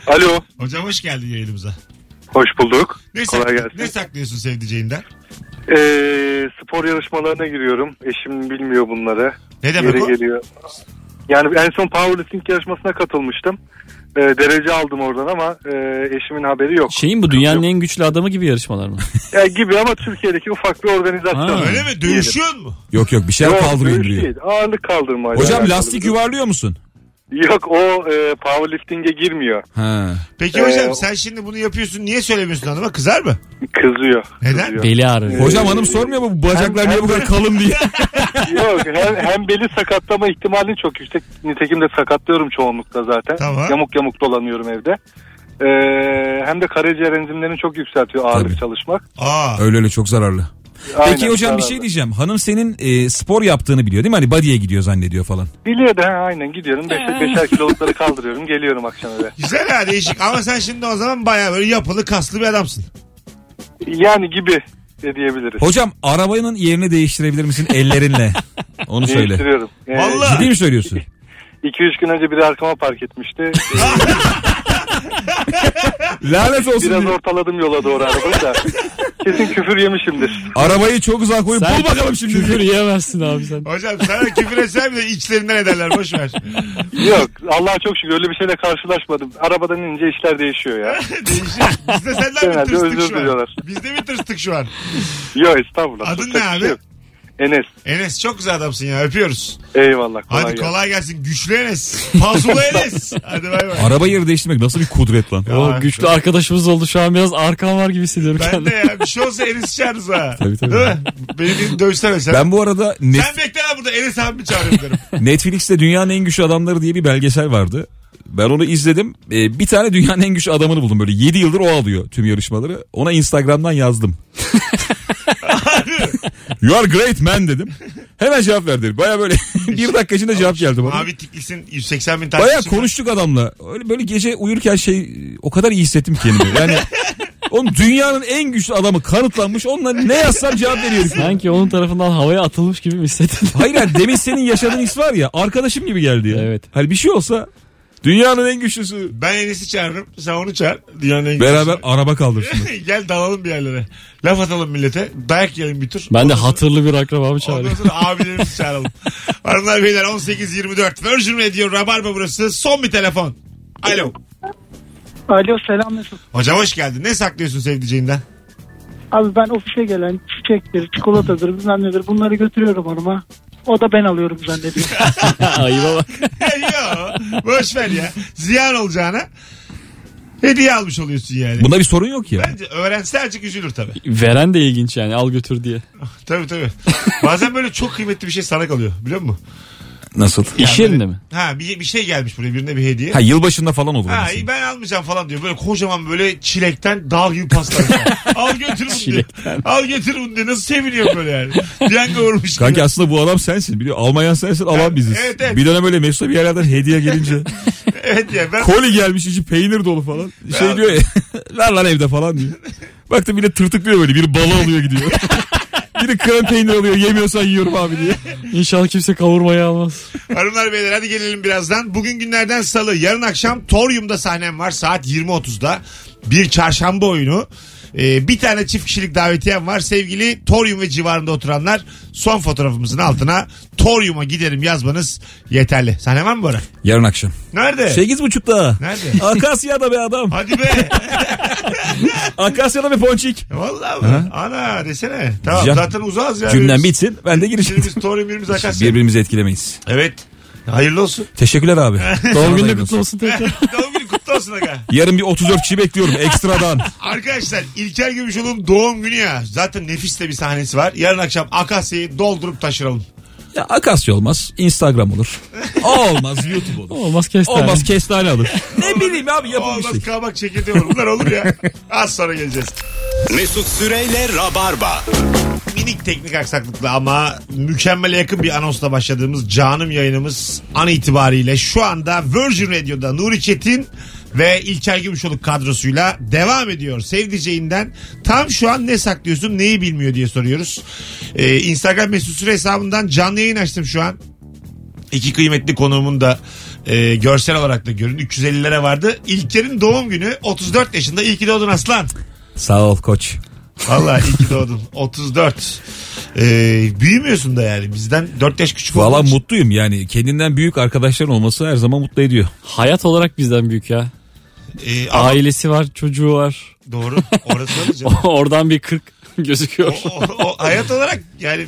Speaker 6: Alo.
Speaker 3: Hocam hoş geldin yayınımıza.
Speaker 6: Hoş bulduk.
Speaker 3: Ne,
Speaker 6: Kolay
Speaker 3: sak-
Speaker 6: gelsin.
Speaker 3: ne saklıyorsun sevdiceğinden?
Speaker 6: Ee, spor yarışmalarına giriyorum. Eşim bilmiyor bunları.
Speaker 3: Ne demek
Speaker 6: Yeri
Speaker 3: o?
Speaker 6: geliyor. Yani en son powerlifting yarışmasına katılmıştım. Ee, derece aldım oradan ama e, eşimin haberi yok.
Speaker 2: Şeyin bu dünyanın en güçlü adamı gibi yarışmalar mı?
Speaker 6: Ya gibi ama Türkiye'deki ufak bir organizasyon.
Speaker 2: Ha.
Speaker 3: Öyle mi? Dövüşüyor mu?
Speaker 4: Yok yok bir şey şeyler
Speaker 6: Yok,
Speaker 4: kaldırıyor
Speaker 7: şey.
Speaker 6: dövüş
Speaker 4: indiriyor.
Speaker 6: değil. Ağırlık kaldırma.
Speaker 4: Hocam lastik yuvarlıyor musun?
Speaker 6: Yok o e, powerlifting'e girmiyor.
Speaker 4: Ha.
Speaker 3: Peki
Speaker 6: Ee,
Speaker 3: hocam sen şimdi bunu yapıyorsun niye söylemiyorsun hanıma kızar mı?
Speaker 6: Kızıyor.
Speaker 3: Neden?
Speaker 6: Kızıyor.
Speaker 2: Beli ağrıyor.
Speaker 4: Ee, Hocam hanım sormuyor mu bu bacaklar niye bu kadar kalın diye?
Speaker 6: Yok hem, hem beli sakatlama ihtimali çok yüksek. Nitekim de sakatlıyorum çoğunlukla zaten.
Speaker 3: Tamam.
Speaker 6: Yamuk yamuk dolanıyorum evde. Ee, hem de karaciğer enzimlerini çok yükseltiyor ağırlık
Speaker 4: Tabii.
Speaker 6: çalışmak.
Speaker 3: Aa.
Speaker 4: Öyle öyle çok zararlı.
Speaker 6: Aynen,
Speaker 4: Peki hocam bir
Speaker 6: zararlı.
Speaker 4: şey diyeceğim. Hanım senin e, spor yaptığını biliyor değil mi? Hani body'e gidiyor zannediyor falan.
Speaker 6: Biliyor da ha, aynen gidiyorum. Beşer, beşer kilolukları kaldırıyorum. Geliyorum akşam eve.
Speaker 3: Güzel ha değişik ama sen şimdi o zaman baya böyle yapılı kaslı bir adamsın.
Speaker 6: Yani gibi de diyebiliriz.
Speaker 4: Hocam arabanın yerini değiştirebilir misin ellerinle? Onu söyle.
Speaker 6: Değiştiriyorum. Ee,
Speaker 3: Vallahi.
Speaker 4: Ciddi mi söylüyorsun?
Speaker 6: 2-3 gün önce biri arkama park etmişti.
Speaker 3: *laughs*
Speaker 6: Ee,
Speaker 4: Lanet olsun.
Speaker 6: Biraz
Speaker 4: diye.
Speaker 6: ortaladım yola doğru arabayı da. Kesin küfür yemişimdir.
Speaker 4: Arabayı çok uzağa koyup
Speaker 2: Sen
Speaker 4: bul bakalım şimdi.
Speaker 2: Küfür yiyemezsin abi sen.
Speaker 3: Hocam sana küfür etsem de içlerinden ederler boş ver. *laughs*
Speaker 6: Yok Allah'a çok şükür öyle bir şeyle karşılaşmadım. Arabadan inince işler değişiyor ya.
Speaker 3: Değişik. Biz de senden bir
Speaker 6: Genelde
Speaker 3: tırstık
Speaker 6: özür
Speaker 3: şu an.
Speaker 6: diliyorlar.
Speaker 3: Biz de bir tırstık şu an.
Speaker 6: Yok estağfurullah.
Speaker 3: Adın
Speaker 6: Tutacak
Speaker 3: ne
Speaker 6: bir
Speaker 3: abi?
Speaker 6: şey yok. Enes.
Speaker 3: Enes çok güzel adamsın ya öpüyoruz.
Speaker 6: Eyvallah. Kolay
Speaker 3: Hadi
Speaker 6: gelsin.
Speaker 3: kolay gelsin. Güçlü Enes. Pazulu Enes. Hadi bay bay.
Speaker 4: Araba yeri değiştirmek nasıl bir kudret lan?
Speaker 3: Ya,
Speaker 2: O güçlü arkadaşımız oldu. Şu an biraz arkam var gibi hissediyorum
Speaker 3: Ben
Speaker 2: kendimi.
Speaker 3: de ya bir şey olsa Enes çağırırız ha.
Speaker 4: Tabii, tabii.
Speaker 3: Değil mi? Beni bir dövsene mesela.
Speaker 4: Ben bu arada net,
Speaker 3: Sen bekle ha burada Enes abimi çağırıyorum derim.
Speaker 4: Netflix'te Dünyanın En Güçlü Adamları diye bir belgesel vardı. Ben onu izledim. Ee, bir tane dünyanın en güçlü adamını buldum. Böyle 7 yıldır o alıyor tüm yarışmaları. Ona
Speaker 3: *laughs*
Speaker 4: Instagram'dan yazdım. you are great man dedim. Hemen cevap verdi. Baya böyle *laughs* bir dakika içinde cevap geldi bana.
Speaker 3: Abi tiklisin 180 bin
Speaker 4: Baya
Speaker 3: takipçi. var.
Speaker 4: konuştuk adamla. Öyle böyle gece uyurken şey o kadar iyi hissettim kendimi.
Speaker 3: *laughs*
Speaker 4: Yani oğlum dünyanın en güçlü adamı kanıtlanmış. Onunla ne yazsam cevap veriyor. herif.
Speaker 2: Sanki onun tarafından havaya atılmış gibi mi hissettin?
Speaker 4: Hayır yani demin senin yaşadığın his var ya arkadaşım gibi geldi ya.
Speaker 2: Evet.
Speaker 4: Hani bir şey olsa dünyanın en güçlüsü.
Speaker 3: Ben Enes'i çağırırım. Sen onu çağır. Dünyanın en
Speaker 4: Beraber araba kaldırsın.
Speaker 3: güçlüsü. *laughs* Gel dalalım bir yerlere. Laf atalım millete. Dayak yiyelim bir tur.
Speaker 2: *laughs* Ben de
Speaker 3: Ondan sonra-
Speaker 2: hatırlı bir akrabamı
Speaker 3: Ondan
Speaker 2: çağırıyorum. *laughs*
Speaker 3: sonra abilerimizi
Speaker 4: *laughs*
Speaker 3: çağıralım. Hanımlar beyler 18-24. Virgin Radio Rabarba burası. Son bir telefon. Alo.
Speaker 8: Alo selam Mesut.
Speaker 3: Hocam hoş geldin. Ne saklıyorsun sevdiceğinden?
Speaker 8: Abi ben ofise gelen çiçektir, çikolatadır, bilmem nedir bunları götürüyorum hanıma. O da ben alıyorum zannediyor.
Speaker 2: Ayıba bak.
Speaker 3: *laughs* Yo. Boş ver ya. Ziyan olacağına hediye almış oluyorsun yani.
Speaker 4: Bunda bir sorun yok ya.
Speaker 3: Bence öğrense azıcık üzülür tabii.
Speaker 2: Veren de ilginç yani al götür diye.
Speaker 3: Tabii tabii. Bazen böyle çok kıymetli bir şey sana kalıyor biliyor musun?
Speaker 4: Nasıl?
Speaker 2: İş yerinde mi?
Speaker 3: Ha bir, bir şey gelmiş buraya birine bir hediye.
Speaker 4: Ha yılbaşında falan olur.
Speaker 3: Ha
Speaker 4: orası.
Speaker 3: iyi ben almayacağım falan diyor. Böyle kocaman böyle çilekten dal gibi paslar. Al götür bunu diyor. Al götür bunu diyor. Nasıl seviniyor böyle yani. Piyango vurmuş.
Speaker 4: Kanki
Speaker 3: gibi.
Speaker 4: aslında bu adam sensin biliyor. Almayan sensin alan biziz.
Speaker 3: Evet, evet.
Speaker 4: Bir dönem öyle Mesut'a bir yerlerden
Speaker 3: *laughs*
Speaker 4: hediye gelince
Speaker 3: Evet ya ben
Speaker 4: koli gelmiş içi peynir dolu falan. Şey diyor ya *laughs* ver lan evde falan diyor. Baktım bile tırtıklıyor böyle biri balı
Speaker 3: *laughs*
Speaker 4: alıyor gidiyor. biri krem peynir alıyor yemiyorsan yiyorum abi diye.
Speaker 2: İnşallah kimse kavurmayı almaz.
Speaker 3: Hanımlar beyler hadi gelelim birazdan. Bugün günlerden salı. Yarın akşam Torium'da sahnem var saat 20.30'da. Bir çarşamba oyunu. Ee, bir tane çift kişilik davetiyem var. Sevgili Torium ve civarında oturanlar son fotoğrafımızın altına Torium'a giderim yazmanız yeterli. Sahne var mı Bora?
Speaker 4: Yarın akşam.
Speaker 3: Nerede?
Speaker 4: Sekiz buçukta.
Speaker 3: Nerede?
Speaker 4: Akasya'da be adam.
Speaker 3: Hadi be.
Speaker 4: Akasya'da be ponçik.
Speaker 3: Vallahi mi? Ana desene. Tamam
Speaker 4: Ya-
Speaker 3: zaten uzağız ya.
Speaker 4: Cümlem
Speaker 3: Birimiz-
Speaker 4: bitsin ben de girişim.
Speaker 3: Birimiz Torium birimiz Akasya.
Speaker 4: Birbirimizi etkilemeyiz.
Speaker 3: Evet. Hayırlı
Speaker 4: *laughs*
Speaker 3: olsun.
Speaker 4: Teşekkürler abi.
Speaker 2: Doğum
Speaker 4: Sana da
Speaker 2: günü
Speaker 4: iyi
Speaker 2: kutlu olsun tekrar.
Speaker 3: Doğum günü kutlu olsun aga.
Speaker 4: Yarın bir 34 kişi bekliyorum ekstradan.
Speaker 3: Arkadaşlar İlker Gümüşoğlu'nun doğum günü ya. Zaten nefis de bir sahnesi var. Yarın akşam Akasya'yı doldurup taşıralım.
Speaker 4: *laughs* Ya Akasya olmaz. Instagram olur. O olmaz. YouTube olur.
Speaker 2: Olmaz kestane.
Speaker 4: Olmaz kestane alır. ne bileyim abi yapın bir
Speaker 3: Olmaz
Speaker 4: şey.
Speaker 3: kabak çekirdeği olur. Bunlar olur ya. Az sonra geleceğiz.
Speaker 1: Mesut Süreyle Rabarba.
Speaker 3: Minik teknik aksaklıkla ama mükemmele yakın bir anonsla başladığımız canım yayınımız an itibariyle şu anda Virgin Radio'da Nuri Çetin ve İlker Gümüşoluk kadrosuyla devam ediyor. Sevdiceğinden tam şu an ne saklıyorsun neyi bilmiyor diye soruyoruz. Ee, Instagram mesut süre hesabından canlı yayın açtım şu an. İki kıymetli konuğumun da e, görsel olarak da görün. 350'lere vardı. İlker'in doğum günü 34 yaşında. İyi ki doğdun aslan.
Speaker 4: Sağ ol koç.
Speaker 3: Valla iyi ki doğdun. *laughs* 34. Ee, büyümüyorsun da yani. Bizden 4 yaş küçük
Speaker 4: Valla
Speaker 3: olduğun için.
Speaker 4: mutluyum yani. Kendinden büyük arkadaşların olması her zaman mutlu ediyor.
Speaker 2: Hayat olarak bizden büyük ya.
Speaker 3: Ee, ama
Speaker 2: Ailesi var, çocuğu var.
Speaker 4: *laughs*
Speaker 3: doğru. Orası öyle canım.
Speaker 2: Oradan bir 40.
Speaker 3: O,
Speaker 2: gözüküyor.
Speaker 3: o- o hayat olarak yani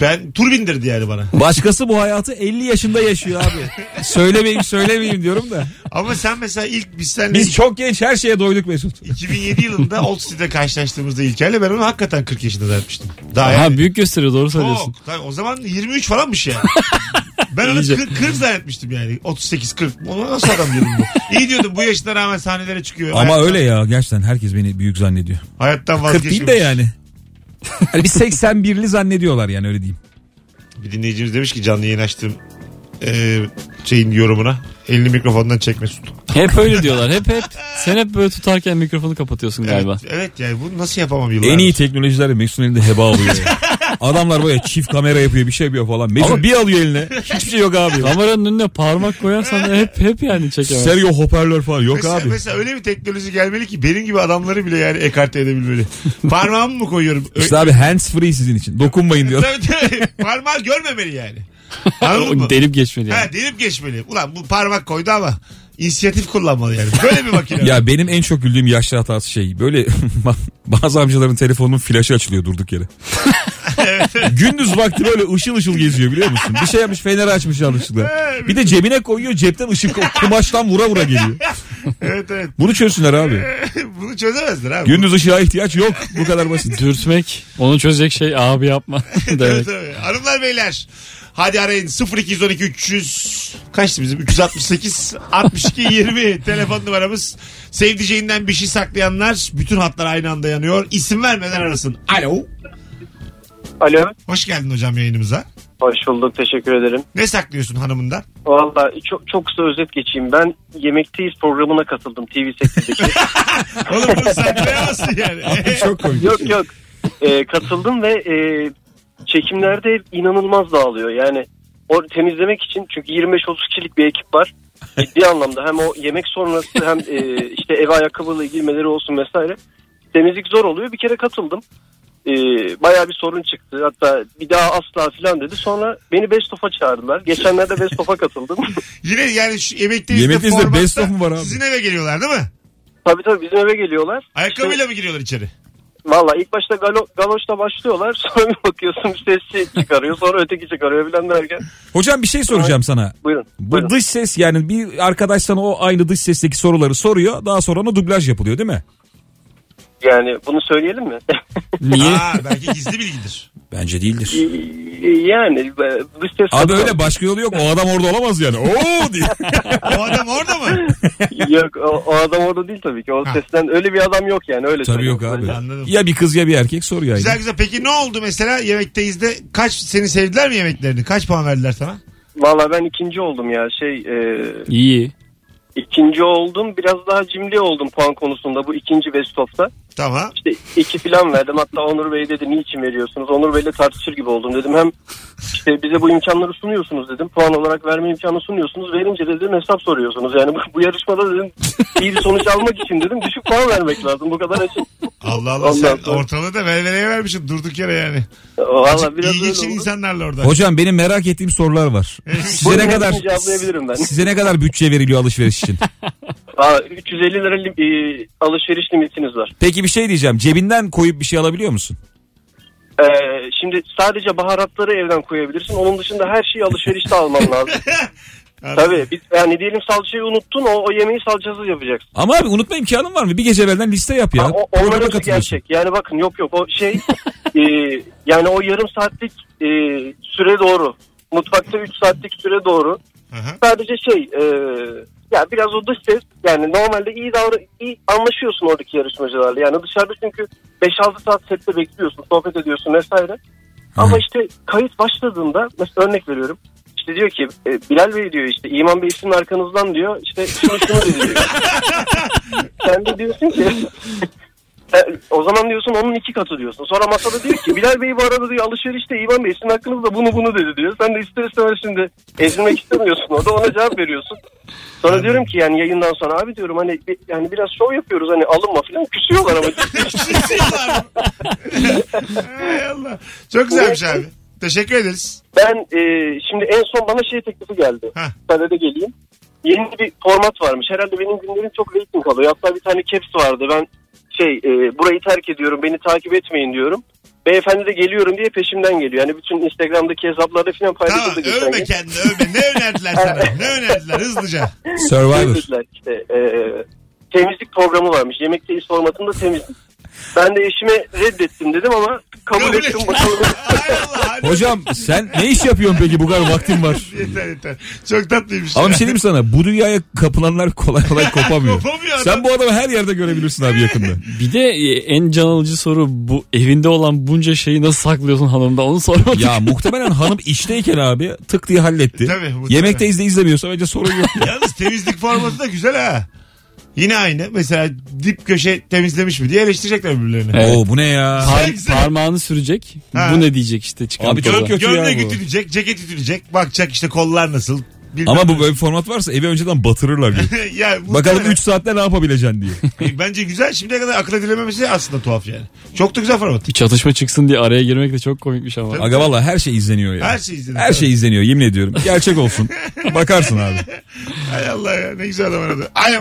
Speaker 3: ben tur bindirdi yani bana.
Speaker 4: Başkası bu hayatı 50 yaşında yaşıyor abi. söylemeyeyim söylemeyeyim diyorum da.
Speaker 3: Ama sen mesela ilk biz seninle
Speaker 4: Biz çok genç her şeye doyduk Mesut.
Speaker 3: 2007 yılında Old City'de karşılaştığımızda İlker'le ben onu hakikaten 40 yaşında zannetmiştim. Daha yani-
Speaker 4: şey
Speaker 2: Ha büyük gösteriyor doğru söylüyorsun.
Speaker 3: Çok. Tabii, o zaman 23 falanmış
Speaker 4: *laughs*
Speaker 3: yani. Ben onu
Speaker 2: İyice.
Speaker 3: 40, 40 zannetmiştim yani. 38-40. Ona nasıl adam diyorum bu? İyi diyordum bu yaşına rağmen sahnelere çıkıyor.
Speaker 4: Ama
Speaker 3: Hayattan-
Speaker 4: öyle ya gerçekten herkes beni büyük zannediyor.
Speaker 3: Hayattan
Speaker 4: 40 değil de
Speaker 3: vazgeçmemiş.
Speaker 4: yani. Hani bir 81'li zannediyorlar yani öyle diyeyim.
Speaker 3: Bir dinleyicimiz demiş ki canlı yayın açtığım e, şeyin yorumuna. Elini mikrofondan çekme Mesut.
Speaker 2: Hep öyle diyorlar. Hep hep. Sen hep böyle tutarken mikrofonu kapatıyorsun galiba.
Speaker 3: Evet, evet yani bunu nasıl yapamam yıllardır.
Speaker 4: En iyi teknolojilerle Mesut'un elinde heba oluyor. ya. Adamlar böyle çift kamera yapıyor bir şey yapıyor falan. Mesut
Speaker 2: Ama-
Speaker 4: bir alıyor eline. Hiçbir şey yok abi.
Speaker 2: Kameranın önüne parmak koyarsan hep hep yani çekemez.
Speaker 4: Stereo hoparlör falan yok
Speaker 3: Mesela,
Speaker 4: abi.
Speaker 3: mesela öyle bir teknoloji gelmeli ki benim gibi adamları bile yani ekarte
Speaker 4: *laughs*
Speaker 3: edebilmeli. Parmağımı mı koyuyorum? Ö-
Speaker 4: İşte abi hands free sizin için. Dokunmayın
Speaker 3: *laughs*
Speaker 4: diyor.
Speaker 3: Tabii, tabii. Parmağı görmemeli yani. Anladın mı?
Speaker 2: O Delip geçmeli yani.
Speaker 3: Ha delip geçmeli. Ulan bu parmak koydu ama inisiyatif kullanmalı yani. Böyle bir makine.
Speaker 4: Ya benim en çok güldüğüm yaşlı hatası şey. Böyle *laughs* bazı amcaların telefonunun flaşı açılıyor durduk yere. Gündüz vakti böyle ışıl ışıl geziyor biliyor musun? Bir şey yapmış feneri açmış yanlışlıkla. Bir de cebine koyuyor cepten ışık kumaştan vura vura geliyor.
Speaker 3: evet evet. *laughs*
Speaker 4: Bunu çözsünler abi.
Speaker 3: Bunu çözemezler abi.
Speaker 4: Gündüz ışığa ihtiyaç yok. Bu kadar basit.
Speaker 2: Dürtmek, onu çözecek şey abi yapma *laughs*
Speaker 3: Evet,
Speaker 2: demek.
Speaker 3: evet. Hanımlar beyler. Hadi arayın 0212 300 kaçtı bizim 368
Speaker 4: *laughs*
Speaker 3: 62 20 telefon numaramız. Sevdiceğinden bir şey saklayanlar bütün hatlar aynı anda yanıyor. İsim vermeden arasın. Alo.
Speaker 9: Alo.
Speaker 3: Hoş geldin hocam yayınımıza.
Speaker 9: Hoş bulduk. Teşekkür ederim.
Speaker 3: Ne saklıyorsun hanımından?
Speaker 9: Valla çok, çok kısa özet geçeyim. Ben Yemekteyiz programına katıldım TV8'deki.
Speaker 3: Oğlum bunu saklayamazsın
Speaker 4: *laughs*
Speaker 3: yani.
Speaker 4: Çok komik.
Speaker 9: yok yok. Ee, katıldım ve e, çekimlerde inanılmaz dağılıyor. Yani o temizlemek için çünkü 25-30 kişilik bir ekip var. Ciddi anlamda hem o yemek sonrası hem e, işte eve ayakkabıyla girmeleri olsun vesaire. Temizlik zor oluyor. Bir kere katıldım. Ee, bayağı bir sorun çıktı. Hatta bir daha asla filan dedi. Sonra beni Best of'a çağırdılar. Geçenlerde Best of'a katıldım.
Speaker 3: *laughs*
Speaker 9: *laughs*
Speaker 3: Yine yani şu yemekteyiz
Speaker 4: Yemekteyiz de
Speaker 3: formatta
Speaker 4: best of mu var abi?
Speaker 3: Sizin eve geliyorlar değil mi?
Speaker 9: tabii tabii bizim eve geliyorlar.
Speaker 3: Ayakkabıyla mı giriyorlar içeri?
Speaker 9: Valla ilk başta galo, galoşla başlıyorlar. *laughs* Sonra bir bakıyorsun bir sesçi çıkarıyor. Sonra öteki çıkarıyor bilen derken.
Speaker 4: Hocam bir şey soracağım sana.
Speaker 9: Buyurun.
Speaker 4: Bu
Speaker 9: buyurun.
Speaker 4: dış ses yani bir arkadaş sana o aynı dış sesteki soruları soruyor. Daha sonra ona dublaj yapılıyor değil mi?
Speaker 9: Yani bunu söyleyelim mi?
Speaker 2: Niye?
Speaker 3: Aa, belki gizli bilgidir.
Speaker 4: Bence değildir.
Speaker 9: *laughs* yani e, bu ses
Speaker 4: Abi öyle başka yolu yok. O adam orada olamaz yani. Oo diye.
Speaker 3: O adam orada mı?
Speaker 9: Yok o, o adam orada değil tabii ki. O
Speaker 3: Ha.
Speaker 9: sesten öyle bir adam yok yani öyle.
Speaker 4: *laughs* Tabii
Speaker 9: söyleyeyim.
Speaker 4: yok abi.
Speaker 3: Anladım.
Speaker 4: Ya bir kız ya bir erkek soruyor.
Speaker 3: Güzel
Speaker 4: aynı.
Speaker 3: güzel. Peki ne oldu mesela yemekteyiz de kaç seni sevdiler mi yemeklerini? Kaç puan verdiler sana?
Speaker 9: Valla ben ikinci oldum ya şey e,
Speaker 2: İyi.
Speaker 9: ikinci oldum biraz daha cimri oldum puan konusunda bu ikinci best of'ta.
Speaker 3: Tamam.
Speaker 9: İşte iki filan verdim. Hatta Onur Bey dedi niçin veriyorsunuz? Onur Bey'le tartışır gibi oldum dedim. Hem işte bize bu imkanları sunuyorsunuz dedim. Puan olarak verme imkanı sunuyorsunuz. Verince de dedim hesap soruyorsunuz. Yani bu, bu yarışmada dedim iyi bir sonuç almak için dedim düşük puan vermek lazım. Bu kadar açık.
Speaker 3: Allah Allah
Speaker 9: Ondan
Speaker 3: sen
Speaker 9: sonra-
Speaker 3: ortalığı da velveleye vermişsin durduk yere yani.
Speaker 9: Valla biraz
Speaker 3: İyi
Speaker 9: öyle
Speaker 3: geçin
Speaker 9: oldu.
Speaker 3: insanlarla orada.
Speaker 4: Hocam benim merak ettiğim sorular var. Size ne
Speaker 9: Bunu
Speaker 4: kadar
Speaker 9: hepsini cevaplayabilirim ben.
Speaker 4: size ne kadar bütçe veriliyor alışveriş için?
Speaker 9: Valla 350 lira lim- e, alışveriş limitiniz var.
Speaker 4: Peki bir şey diyeceğim. Cebinden koyup bir şey alabiliyor musun?
Speaker 9: Ee, şimdi sadece baharatları evden koyabilirsin. Onun dışında her şeyi alışverişte alman lazım.
Speaker 3: Anladım.
Speaker 9: Tabii. Biz, yani diyelim salçayı unuttun. O, o yemeği salçasız yapacaksın.
Speaker 4: Ama abi unutma imkanın var mı? Bir gece evvelden liste yap ya.
Speaker 9: Ha, o,
Speaker 4: Programa
Speaker 9: onların hepsi
Speaker 4: katılıyorsun.
Speaker 9: gerçek. Yani bakın yok yok o şey *laughs* e, yani o yarım saatlik e, süre doğru. Mutfakta 3 saatlik süre doğru.
Speaker 3: Aha.
Speaker 9: Sadece şey e, ya biraz o dış ses yani normalde iyi davran iyi anlaşıyorsun oradaki yarışmacılarla. Yani dışarıda çünkü 5-6 saat sette bekliyorsun, sohbet ediyorsun vesaire. Ama işte kayıt başladığında mesela örnek veriyorum. İşte diyor ki e, Bilal Bey diyor işte İman Bey sizin arkanızdan diyor işte şunu şunu dedi
Speaker 4: *laughs*
Speaker 9: diyor. Sen de diyorsun ki e, o zaman diyorsun onun iki katı diyorsun. Sonra masada diyor ki Bilal Bey bu arada diyor alışverişte İvan Bey sizin hakkınızda bunu bunu dedi diyor. Sen de ister istemez şimdi ezilmek istemiyorsun orada ona cevap veriyorsun. Sonra diyorum ki yani yayından sonra abi diyorum hani bi- yani biraz şov yapıyoruz hani alınma falan küsüyorlar ama.
Speaker 3: Sinsiyorlar. Hay Allah. Çok güzelmiş abi. Teşekkür ederiz.
Speaker 9: Ben e, şimdi en son bana şey teklifi geldi.
Speaker 3: Heh.
Speaker 9: Ben de geleyim. Yeni bir format varmış. Herhalde benim günlerim çok reyting alıyor. Hatta bir tane caps vardı. Ben şey e, burayı terk ediyorum beni takip etmeyin diyorum. Beyefendi de geliyorum diye peşimden geliyor. Yani bütün Instagram'daki hesaplarda
Speaker 3: Tamam
Speaker 9: falan paylaşıldı. geçen
Speaker 3: övme
Speaker 9: gün.
Speaker 3: kendini övme. Ne önerdiler sana? Ne önerdiler hızlıca?
Speaker 9: Şey
Speaker 4: Survivor.
Speaker 9: dediler işte, e, temizlik programı varmış. Yemek teyiz formatında temizlik. Ben de eşime reddettim dedim ama kabul
Speaker 3: Kabul et.
Speaker 9: ettim. Bakalım
Speaker 3: *laughs* Hay Allah. hadi.
Speaker 4: Hocam sen ne iş yapıyorsun peki bu kadar vaktin var?
Speaker 3: Yeter yeter. Çok tatlıymış.
Speaker 4: Ama bir şey diyeyim mi sana bu dünyaya kapılanlar
Speaker 3: *laughs*
Speaker 4: kolay kolay kopamıyor.
Speaker 3: Kopamıyor adam.
Speaker 4: Sen bu adamı her yerde görebilirsin abi yakında.
Speaker 2: Bir de e, en can alıcı soru bu evinde olan bunca şeyi nasıl saklıyorsun hanımda onu sormadık.
Speaker 4: Ya muhtemelen hanım işteyken abi tık diye halletti.
Speaker 3: Tabii, muhtemelen.
Speaker 4: Yemekte izle izlemiyorsa bence sorun yok.
Speaker 3: Yalnız temizlik formatı da güzel ha. Yine aynı. Mesela dip köşe temizlemiş mi diye eleştirecekler birbirlerini.
Speaker 2: Evet.
Speaker 4: Oo bu ne ya?
Speaker 2: Par-
Speaker 3: Sen-
Speaker 2: parmağını sürecek.
Speaker 3: Ha.
Speaker 2: Bu ne diyecek işte çıkan
Speaker 4: Abi çok
Speaker 2: toza.
Speaker 4: kötü ya
Speaker 3: Gömleği
Speaker 4: bu.
Speaker 3: ütülecek, ceket ütülecek. Bakacak işte kollar nasıl. bilmem
Speaker 4: Ama
Speaker 3: ne.
Speaker 4: bu böyle bir format varsa evi önceden batırırlar
Speaker 3: *laughs*
Speaker 4: diyor.
Speaker 3: ya, bu- E,
Speaker 4: Bakalım 3 saatte ne yapabileceksin diye.
Speaker 3: Bence güzel. Şimdiye kadar akıl edilememesi aslında tuhaf yani. Çok da güzel format.
Speaker 2: Bir çatışma çıksın diye araya girmek de çok komikmiş ama.
Speaker 4: Aga valla her şey izleniyor ya.
Speaker 3: Her şey izleniyor.
Speaker 4: Her şey izleniyor yemin ediyorum. Gerçek olsun.
Speaker 3: *laughs*
Speaker 4: Bakarsın abi.
Speaker 3: Hay Allah ya ne güzel adam aradı. Alo.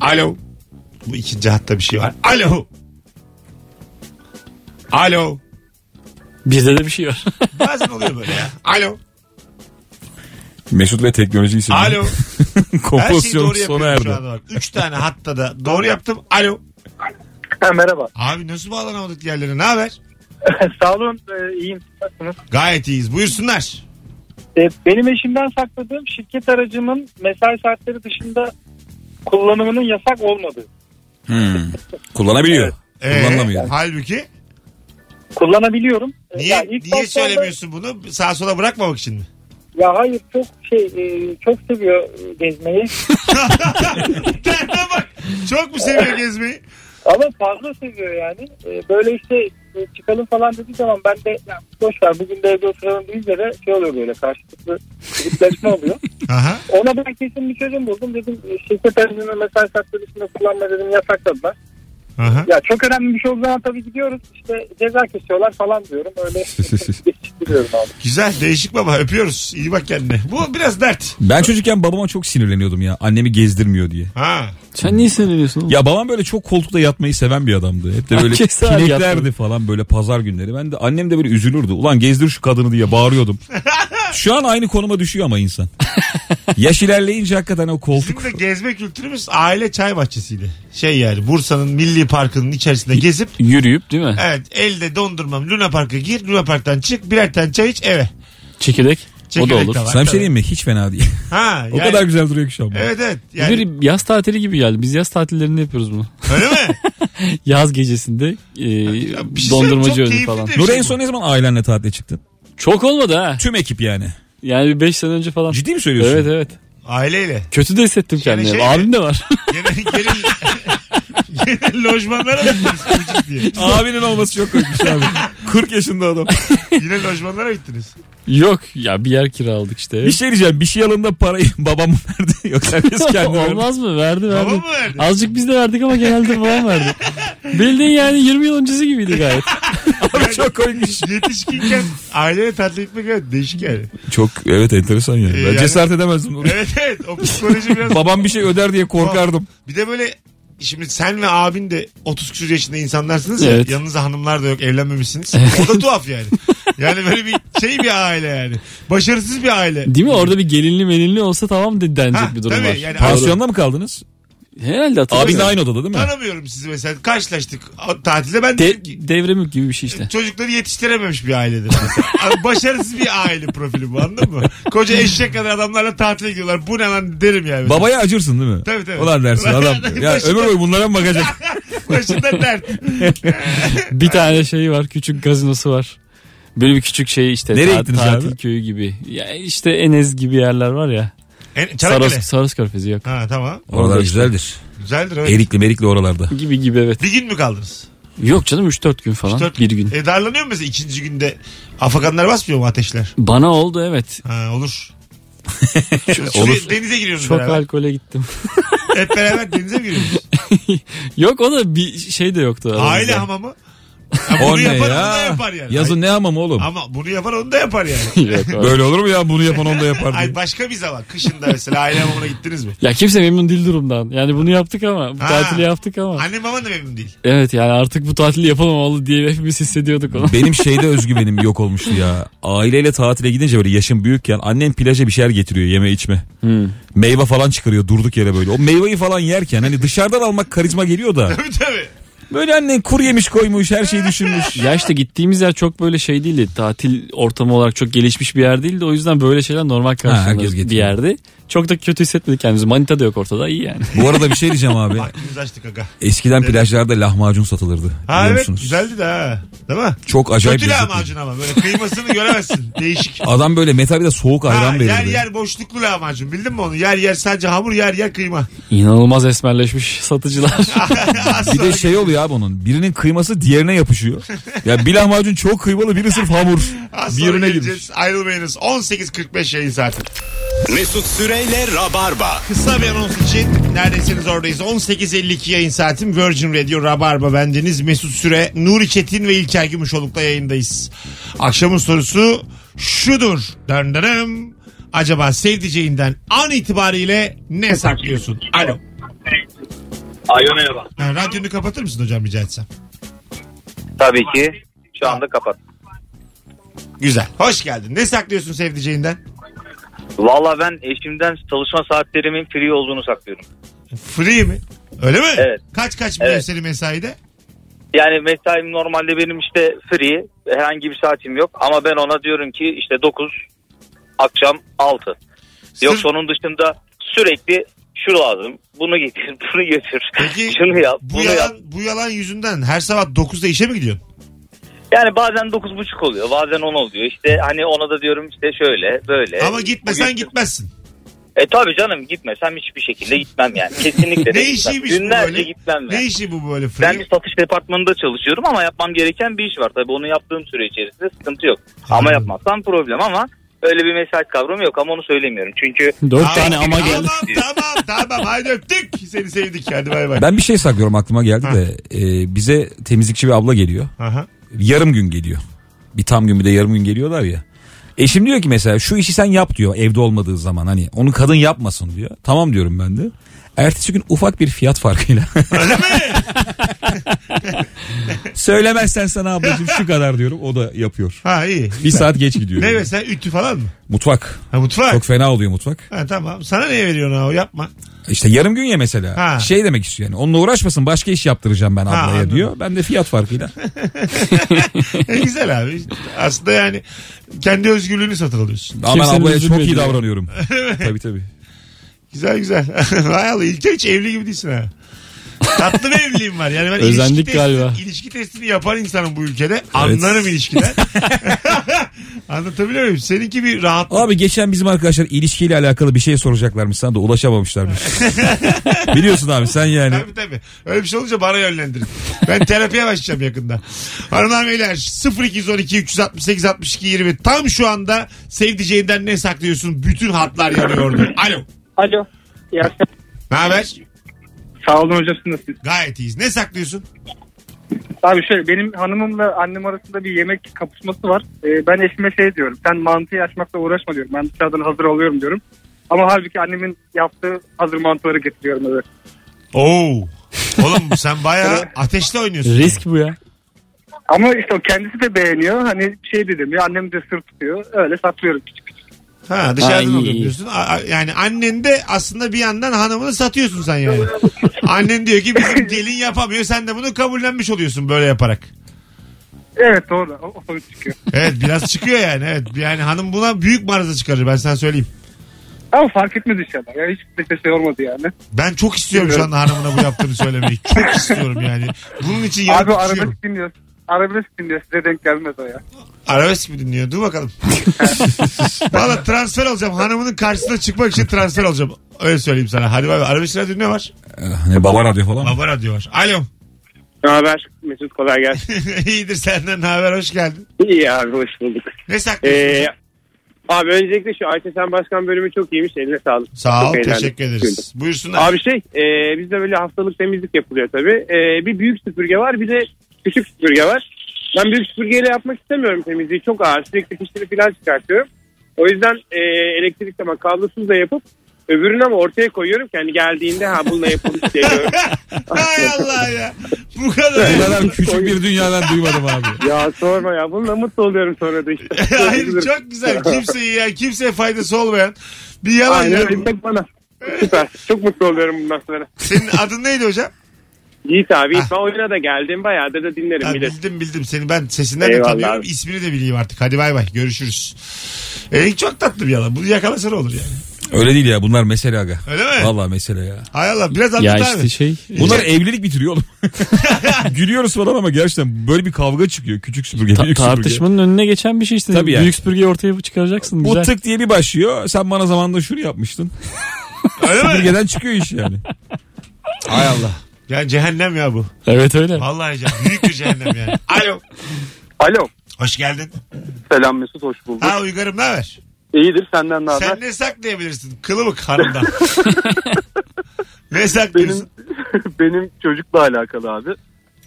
Speaker 3: Alo. Bu ikinci hatta bir şey var. Alo. Alo.
Speaker 2: Bizde de bir
Speaker 3: *laughs*
Speaker 2: şey var.
Speaker 4: *laughs*
Speaker 3: Bazen oluyor böyle ya. Alo.
Speaker 4: Mesut ve teknoloji isimli.
Speaker 3: Alo. *laughs* Her şeyi
Speaker 4: Kompozisyonu
Speaker 3: doğru yapıyorum
Speaker 4: sona erdi.
Speaker 3: şu anda bak. Üç tane hatta da doğru yaptım. Alo.
Speaker 7: Ha, merhaba. *laughs*
Speaker 3: Abi nasıl bağlanamadık yerlere? Ne haber?
Speaker 7: Sağ olun. E, iyiyim. Nasılsınız?
Speaker 3: Gayet iyiyiz. Buyursunlar.
Speaker 7: E, benim eşimden sakladığım şirket aracımın mesai saatleri dışında kullanımının yasak olmadığı.
Speaker 4: Hmm. Kullanabiliyor.
Speaker 3: Ee, *laughs*
Speaker 4: Kullanılamıyor.
Speaker 3: Halbuki
Speaker 7: Kullanabiliyorum. E,
Speaker 3: niye,
Speaker 7: ya ilk
Speaker 3: niye
Speaker 7: başlarda-
Speaker 3: söylemiyorsun bunu? Sağa sola bırakmamak için mi? *laughs*
Speaker 7: Ya hayır çok şey e, çok seviyor e, gezmeyi.
Speaker 3: Derne bak. Çok mu seviyor gezmeyi?
Speaker 7: Ama fazla seviyor yani. E, böyle işte e, çıkalım falan dediği zaman ben de ya, boş ver bugün de evde oturalım deyince de şey oluyor böyle karşılıklı gitleşme oluyor.
Speaker 9: *laughs*
Speaker 3: Aha.
Speaker 7: Ona ben kesin bir çözüm buldum. Dedim e, şirket aracını mesai saatleri dışında kullanma dedim yasakladılar.
Speaker 3: Aha.
Speaker 7: Ya çok önemli bir şey olduğu zaman tabii gidiyoruz. İşte ceza kesiyorlar falan diyorum. Öyle geçiştiriyorum abi.
Speaker 3: Güzel değişik baba öpüyoruz. İyi bak kendine. Bu biraz dert.
Speaker 4: Ben çocukken babama çok sinirleniyordum ya. Annemi gezdirmiyor diye.
Speaker 3: Ha.
Speaker 2: Sen niye sinirleniyorsun oğlum?
Speaker 4: Ya babam böyle çok koltukta yatmayı seven bir adamdı. Hep de
Speaker 3: *laughs*
Speaker 4: böyle
Speaker 2: Herkes her
Speaker 4: pineklerdi
Speaker 2: yatıyor.
Speaker 4: falan böyle pazar günleri. Ben de annem de böyle üzülürdü. Ulan gezdir şu kadını diye
Speaker 3: *laughs*
Speaker 4: bağırıyordum. Şu an aynı konuma düşüyor ama insan. Yaş ilerleyince hakikaten o koltuk.
Speaker 3: Bizim de gezme kültürümüz aile çay bahçesiydi. Şey yani Bursa'nın Milli Parkı'nın içerisinde gezip
Speaker 2: Yürüyüp değil mi?
Speaker 3: evet elde dondurmam Luna Park'a gir Luna Park'tan çık birer tane çay iç eve.
Speaker 2: Çekirdek.
Speaker 3: Çekirdek
Speaker 2: o da olur.
Speaker 3: de var.
Speaker 4: Sana bir şey diyeyim mi? Hiç fena değil. *laughs*
Speaker 3: Ha,
Speaker 4: o
Speaker 3: yani-
Speaker 4: kadar güzel duruyor ki şu an. bana.
Speaker 3: Evet evet. Yani,
Speaker 2: Bir yaz tatili gibi geldi. Biz yaz tatillerinde yapıyoruz bunu.
Speaker 3: Öyle mi?
Speaker 2: Yaz gecesinde e,
Speaker 3: bir şey
Speaker 2: dondurmacı
Speaker 3: söyleyeyim, çok
Speaker 2: önü
Speaker 3: keyifli
Speaker 2: falan.
Speaker 3: de.
Speaker 4: Nuri en son ne zaman ailenle tatile çıktın?
Speaker 2: Çok olmadı ha.
Speaker 4: Tüm ekip yani.
Speaker 2: Yani bir 5 sene önce falan.
Speaker 4: Ciddi mi söylüyorsun?
Speaker 2: Evet evet.
Speaker 3: Aileyle.
Speaker 2: Kötü de hissettim
Speaker 3: Yani
Speaker 2: kendimi.
Speaker 3: şey-
Speaker 2: Abim de var. *laughs*
Speaker 3: Gene, gene, gene lojmanlara mı gittiniz çocuk diye?
Speaker 4: Abinin olması çok korkmuş abi. 40 yaşında adam.
Speaker 3: Yine lojmanlara gittiniz.
Speaker 2: Yok ya bir yer kiraladık işte.
Speaker 4: Bir şey diyeceğim. Bir şey alında parayı *laughs* babam mı verdi. Yoksa herkes *laughs* kendi verdi.
Speaker 2: Olmaz mı? Verdi verdi.
Speaker 3: Baba mı verdi?
Speaker 2: Azıcık biz de verdik ama genelde babam verdi.
Speaker 3: *laughs*
Speaker 2: Bildiğin yani 20 yıl öncesi gibiydi gayet.
Speaker 4: Abi çok koymuş.
Speaker 3: Yetişkinken aileye tatile gitmek evet değişik yani.
Speaker 4: Çok evet enteresan yani. Ben
Speaker 3: Yani-
Speaker 4: cesaret edemezdim. Nuri.
Speaker 3: Evet evet o psikoloji biraz
Speaker 4: Babam bir şey öder diye korkardım.
Speaker 3: Bir de böyle şimdi sen ve abin de 30 küsur yaşında insanlarsınız ya.
Speaker 2: Evet.
Speaker 3: Yanınızda hanımlar da yok evlenmemişsiniz. O da tuhaf yani. Yani böyle bir şey bir aile yani. Başarısız bir aile.
Speaker 2: Değil mi? Orada bir gelinli melinli olsa tamam de denecek
Speaker 3: Ha,
Speaker 2: bir durum
Speaker 3: tabii
Speaker 2: var.
Speaker 3: yani-
Speaker 4: Pansiyonda mı kaldınız?
Speaker 2: Herhalde
Speaker 4: Abin de
Speaker 2: hatırlamıyorum.
Speaker 4: aynı odada değil mi?
Speaker 3: Tanımıyorum sizi mesela. Karşılaştık a- tatilde. Ben dedim ki
Speaker 2: De, devremük gibi bir şey işte.
Speaker 3: çocukları yetiştirememiş bir ailedir. Mesela. Başarısız bir aile profili bu anladın mı? Koca eşek kadar adamlarla tatile gidiyorlar. Bu ne lan derim yani.
Speaker 4: Babaya acırsın değil mi?
Speaker 3: Tabii, tabii.
Speaker 4: Ulan dersin adam.
Speaker 3: *laughs*
Speaker 4: ya
Speaker 3: Başında-
Speaker 4: ömür boyu bunlara
Speaker 3: *laughs*
Speaker 4: mı bakacak?
Speaker 3: Başında dert.
Speaker 2: Bir tane şey var. Küçük gazinosu var. Böyle bir küçük şey işte.
Speaker 4: Nereye
Speaker 2: ta-
Speaker 4: gittiniz
Speaker 2: tatil
Speaker 4: abi?
Speaker 2: köyü gibi. Ya işte Enez gibi yerler var ya.
Speaker 3: En,
Speaker 2: Saros,
Speaker 3: Çanakkale.
Speaker 2: Saros Körfezi yok.
Speaker 3: Ha tamam.
Speaker 4: Oralar
Speaker 2: Orada işte.
Speaker 4: güzeldir.
Speaker 3: Güzeldir evet.
Speaker 4: Erikli merikli oralarda.
Speaker 2: Gibi gibi evet.
Speaker 3: Bir gün mü kaldınız?
Speaker 2: Yok canım 3-4 gün falan.
Speaker 3: Dört-
Speaker 2: Bir gün.
Speaker 3: E darlanıyor mu mesela ikinci günde? Afakanlar basmıyor mu ateşler?
Speaker 2: Bana oldu evet.
Speaker 3: Ha, olur.
Speaker 4: Olur.
Speaker 3: olur. Denize giriyoruz
Speaker 2: Çok
Speaker 3: beraber.
Speaker 2: alkole gittim. *laughs*
Speaker 3: Hep beraber denize mi giriyoruz?
Speaker 2: Yok o da bir şey de yoktu. aramızda. *laughs*
Speaker 3: Aile hamamı. Ha,
Speaker 4: O
Speaker 3: bunu
Speaker 4: ne
Speaker 3: yapan
Speaker 4: ya?
Speaker 3: onu da yapar yani.
Speaker 4: Yazın ne hamam oğlum?
Speaker 3: Ay, Ama bunu yapan onu da yapar
Speaker 2: *laughs*
Speaker 3: yani.
Speaker 2: Yok abi.
Speaker 4: Böyle olur mu ya bunu yapan onu da yapar diye.
Speaker 3: Ay başka bir zaman. Kışında mesela aile hamamına gittiniz mi?
Speaker 2: ya kimse memnun değil durumdan. Yani bunu yaptık ama bu
Speaker 3: Ha.
Speaker 2: tatili yaptık ama.
Speaker 3: Annem baban da memnun değil. *laughs*
Speaker 2: Evet yani artık bu tatili yapamamalı diye hepimiz hissediyorduk onu.
Speaker 4: *laughs* Benim şeyde özgüvenim yok olmuştu ya. Aileyle tatile gidince böyle yaşım büyükken annem plaja bir şeyler getiriyor yeme içme. Meyve falan çıkarıyor durduk yere böyle. O meyveyi falan yerken hani dışarıdan almak karizma geliyor da.
Speaker 3: Tabii tabii.
Speaker 4: Böyle annen kuru yemiş koymuş her şeyi düşünmüş.
Speaker 2: Ya işte gittiğimiz yer çok böyle şey değildi. Tatil ortamı olarak çok gelişmiş bir yer değildi. O yüzden böyle şeyler normal
Speaker 4: herkes
Speaker 2: karşılanır
Speaker 4: getiriyor.
Speaker 2: bir yerde. Çok da kötü hissetmedik kendimizi. Manita da yok ortada iyi
Speaker 4: *laughs*
Speaker 2: yani.
Speaker 4: Bu arada bir şey diyeceğim abi.
Speaker 3: Aklımızı açtık aga.
Speaker 4: Eskiden plajlarda lahmacun satılırdı.
Speaker 3: Ha
Speaker 4: biliyor
Speaker 3: evet
Speaker 4: musunuz?
Speaker 3: güzeldi de ha. Değil mi?
Speaker 4: Çok acayip
Speaker 3: Kötü
Speaker 4: lezzetli.
Speaker 3: lahmacun ama böyle kıymasını
Speaker 4: *laughs*
Speaker 3: göremezsin. Değişik.
Speaker 4: Adam böyle metal bir de soğuk ayran
Speaker 3: Ha,
Speaker 4: verirdi.
Speaker 3: yer yer boşluklu lahmacun bildin mi onu? Yer yer sadece hamur yer yer kıyma. *laughs*
Speaker 2: İnanılmaz esmerleşmiş satıcılar.
Speaker 4: Bir de şey oluyor abi onun. Birinin kıyması diğerine yapışıyor. Ya bir lahmacun çok kıymalı biri sırf hamur.
Speaker 3: Az
Speaker 4: Bir
Speaker 3: sonra
Speaker 4: yerine girmiş.
Speaker 3: geleceğiz. Ayrılmayınız. 18.45 yayın saati.
Speaker 1: Mesut Süreyle Rabarba.
Speaker 3: Kısa bir anons için neredesiniz oradayız. 18.52 yayın saatim Virgin Radio Rabarba bendeniz. Mesut Süre, Nuri Çetin ve İlker Gümüşoluk'la yayındayız. Akşamın sorusu şudur. Döndürüm. Acaba sevdiceğinden an itibariyle ne saklıyorsun? Alo.
Speaker 9: Alo merhaba.
Speaker 3: Ha, radyonu kapatır mısın hocam rica etsem?
Speaker 9: Tabii ki. Şu anda kapat.
Speaker 3: Güzel. Hoş geldin. Ne saklıyorsun sevdiceğinden?
Speaker 9: Valla ben eşimden çalışma saatlerimin free olduğunu saklıyorum.
Speaker 3: Free mi? Öyle mi?
Speaker 9: Evet.
Speaker 3: Kaç kaç biliyor
Speaker 9: Evet.
Speaker 3: senin mesaide?
Speaker 9: Yani mesaim normalde benim işte free. Herhangi bir saatim yok. Ama ben ona diyorum ki işte 9 akşam 6.
Speaker 3: Sırf-
Speaker 9: Yoksa onun dışında sürekli şu lazım. Bunu getir, *laughs* bunu götür.
Speaker 3: Peki,
Speaker 9: *laughs* şunu yap,
Speaker 3: bu
Speaker 9: bunu
Speaker 3: yalan,
Speaker 9: yap.
Speaker 3: Bu yalan yüzünden her sabah 9'da işe mi gidiyorsun?
Speaker 9: Yani bazen 9.30 oluyor, bazen 10 oluyor. İşte hani ona da diyorum işte şöyle, böyle.
Speaker 3: Ama gitmesen
Speaker 9: Bugün-
Speaker 3: gitmezsin.
Speaker 9: E tabii canım gitmesem hiçbir şekilde gitmem yani. Kesinlikle de
Speaker 3: Ne
Speaker 9: gitmem.
Speaker 3: işiymiş bu
Speaker 9: Günlerce
Speaker 3: böyle?
Speaker 9: gitmem
Speaker 3: Ne
Speaker 9: yani.
Speaker 3: işi bu böyle free?
Speaker 9: Ben bir satış departmanında çalışıyorum ama yapmam gereken bir iş var. Tabii onu yaptığım süre içerisinde sıkıntı yok. Ama
Speaker 3: Anladım.
Speaker 9: yapmazsam problem ama öyle bir mesaj kavramı yok ama onu söylemiyorum. Çünkü
Speaker 2: *laughs* Dört
Speaker 3: Tamam,
Speaker 2: tane ama geldi.
Speaker 3: Tamam tamam tamam haydi öptük. Seni sevdik hadi bay bay.
Speaker 4: Ben bir şey saklıyorum aklıma geldi de e, bize temizlikçi bir abla geliyor.
Speaker 3: Aha.
Speaker 4: Yarım gün geliyor. Bir tam gün bir de yarım gün geliyorlar ya. Eşim diyor ki mesela şu işi sen yap diyor evde olmadığı zaman hani onu kadın yapmasın diyor. Tamam diyorum ben de. Ertesi gün ufak bir fiyat farkıyla. *laughs*
Speaker 3: Öyle mi?
Speaker 4: Söylemezsen sana ablacığım şu kadar diyorum o da yapıyor.
Speaker 3: Ha iyi.
Speaker 4: Bir saat geç gidiyor.
Speaker 3: Ne mesela ütü falan mı?
Speaker 4: Mutfak.
Speaker 3: Ha mutfak.
Speaker 4: Çok fena oluyor mutfak.
Speaker 3: Ha tamam. Sana niye veriyorsun ha o yapma. *laughs*
Speaker 4: İşte yarım gün ya mesela.
Speaker 3: Ha.
Speaker 4: Şey demek istiyor yani. Onunla uğraşmasın başka iş yaptıracağım ben
Speaker 3: Ha,
Speaker 4: ablaya
Speaker 3: anladım.
Speaker 4: diyor. Ben de
Speaker 3: *laughs*
Speaker 4: fiyat farkıyla.
Speaker 3: E, güzel abi. Aslında yani kendi özgürlüğünü satın alıyorsun.
Speaker 4: Ama ben
Speaker 2: Kimsenin
Speaker 4: ablaya çok iyi
Speaker 2: üzülmediği.
Speaker 3: *laughs*
Speaker 4: davranıyorum. tabii tabii.
Speaker 3: Güzel güzel. *laughs* Vay Allah İlker hiç evli gibi değilsin ha. Tatlı bir evliliğim var. Yani ben
Speaker 2: Özendik
Speaker 3: ilişki
Speaker 2: galiba.
Speaker 3: Testi, ilişki testini yapan insanım bu ülkede. Anlarım ilişkiden.
Speaker 2: *laughs*
Speaker 3: *laughs* Anlatabiliyor muyum? Seninki bir rahatlık.
Speaker 4: Abi geçen bizim arkadaşlar ilişkiyle alakalı bir şey soracaklarmış sana
Speaker 3: *laughs*
Speaker 4: da ulaşamamışlarmış. Biliyorsun abi sen yani.
Speaker 3: Tabii tabii. Öyle bir şey olunca bana yönlendirin. Ben terapiye başlayacağım yakında. Hanımlar beyler 0212 368 62 20 tam şu anda sevdiceğinden ne saklıyorsun? Bütün hatlar yanıyordu. Alo.
Speaker 7: Alo. İyi akşamlar.
Speaker 3: Ne haber?
Speaker 7: Sağ olun hocam siz nasılsınız?
Speaker 3: Gayet iyiyiz. Ne saklıyorsun?
Speaker 7: Abi şöyle benim hanımımla annem arasında bir yemek kapışması var. Ee, ben eşime şey diyorum. Sen mantıyı açmakla uğraşma diyorum. Ben dışarıdan hazır alıyorum diyorum. Ama halbuki annemin yaptığı hazır mantıları getiriyorum eve.
Speaker 3: Oo. Oğlum sen bayağı ateşle oynuyorsun.
Speaker 2: Risk bu ya.
Speaker 7: Ama işte o kendisi de beğeniyor. Hani şey dedim ya annem de sır tutuyor. Öyle satıyoruz.
Speaker 3: Ha dışarıdan
Speaker 2: Ay.
Speaker 3: alıyorum diyorsun. A- a- Yani annen de aslında bir yandan hanımını satıyorsun sen yani. Annen diyor ki bizim gelin yapamıyor. Sen de bunu kabullenmiş oluyorsun böyle yaparak.
Speaker 7: Evet doğru. O, o sonuç çıkıyor.
Speaker 3: Evet biraz çıkıyor yani. Evet yani hanım buna büyük marıza çıkarır ben sana söyleyeyim.
Speaker 7: Ama fark etmedi inşallah. Yani hiç de şey olmadı yani.
Speaker 3: Ben çok istiyorum şu anda hanımına bu yaptığını söylemeyi. Çok istiyorum yani. Bunun için yarın
Speaker 7: Abi
Speaker 3: arabesk...
Speaker 7: arabesk dinliyor. Arabesk dinliyor. Size denk gelmez o ya.
Speaker 3: arabesk mi dinliyor? Dur bakalım. Valla transfer olacağım. Hanımının karşısına çıkmak için transfer olacağım. Öyle söyleyeyim sana. Hadi bay bay. Arabesk radyo ne var?
Speaker 4: Eh, ne baba radyo falan.
Speaker 3: Baba radyo var. Alo. *laughs*
Speaker 7: Ne haber? Mesut kolay gelsin.
Speaker 3: İyidir senden ne haber? Hoş geldin.
Speaker 7: İyi abi hoş bulduk.
Speaker 3: Ne saklıyorsun?
Speaker 7: Ee, abi öncelikle şu Ayşe Sen Başkan bölümü çok iyiymiş. Eline sağlık.
Speaker 3: Sağ ol.
Speaker 7: çok eğlendim.
Speaker 3: Teşekkür ederiz. Buyursunlar.
Speaker 7: Abi şey e, bizde böyle haftalık temizlik yapılıyor tabii. E, bir büyük süpürge var bir de küçük süpürge var. Ben büyük süpürgeyle yapmak istemiyorum temizliği. Çok ağır. Sürekli fişleri falan çıkartıyorum. O yüzden e, elektrik ama kablosuz da yapıp öbürünü ama ortaya koyuyorum ki hani geldiğinde ha bununla yapılmış diye
Speaker 3: *laughs*
Speaker 7: görüyorum.
Speaker 3: Hay Allah ya. Bu kadar.
Speaker 4: Bu kadar küçük bir dünyadan duymadım abi.
Speaker 7: ya sorma ya bununla mutlu oluyorum sonra
Speaker 3: *laughs*
Speaker 7: da işte.
Speaker 3: *laughs* Hayır çok güzel. Kimseye ya kimseye faydası olmayan bir yalan
Speaker 7: Aynen
Speaker 3: ya.
Speaker 7: öyle bilmek bana. Süper. Çok mutlu oluyorum bundan sonra.
Speaker 3: Senin adın neydi
Speaker 7: *laughs*
Speaker 3: hocam?
Speaker 7: Yiğit abi Yiğit ben oyuna da geldim. Bayağıdır da dinlerim
Speaker 3: Ben
Speaker 7: bilirsin.
Speaker 3: bildim bildim seni ben sesinden de
Speaker 7: Eyvallah
Speaker 3: tanıyorum.
Speaker 7: abi.
Speaker 3: İsmini de bileyim artık. Hadi bay bay görüşürüz. E, çok tatlı bir yalan. Bunu yakalasana olur yani.
Speaker 4: Öyle değil ya bunlar mesele aga.
Speaker 3: Öyle mi?
Speaker 4: Valla mesele ya.
Speaker 3: Hay Allah biraz anlat
Speaker 2: Ya
Speaker 3: abi.
Speaker 2: işte şey.
Speaker 4: Bunlar evlilik bitiriyor oğlum. *laughs* Gülüyoruz falan ama gerçekten böyle bir kavga çıkıyor. Küçük süpürge,
Speaker 2: ta-
Speaker 4: büyük süpürge.
Speaker 2: tartışmanın önüne geçen bir şey işte.
Speaker 4: Tabii yani.
Speaker 2: Büyük süpürgeyi ortaya çıkaracaksın.
Speaker 4: Bu
Speaker 2: Güzel.
Speaker 4: tık diye bir başlıyor. Sen bana zamanında şunu yapmıştın.
Speaker 3: Öyle mi?
Speaker 4: Süpürgeden çıkıyor iş yani. Hay Allah.
Speaker 3: Ya cehennem ya bu.
Speaker 2: Evet öyle.
Speaker 3: Vallahi cehennem. Büyük bir cehennem yani. Alo.
Speaker 9: Alo.
Speaker 3: Hoş geldin.
Speaker 9: Selam Mesut hoş bulduk.
Speaker 3: Ha Uygar'ım ne haber?
Speaker 9: İyidir senden ne haber?
Speaker 3: Sen ne saklayabilirsin? Kılıbık hanımdan. ne saklıyorsun?
Speaker 9: Benim *laughs* benim çocukla alakalı abi.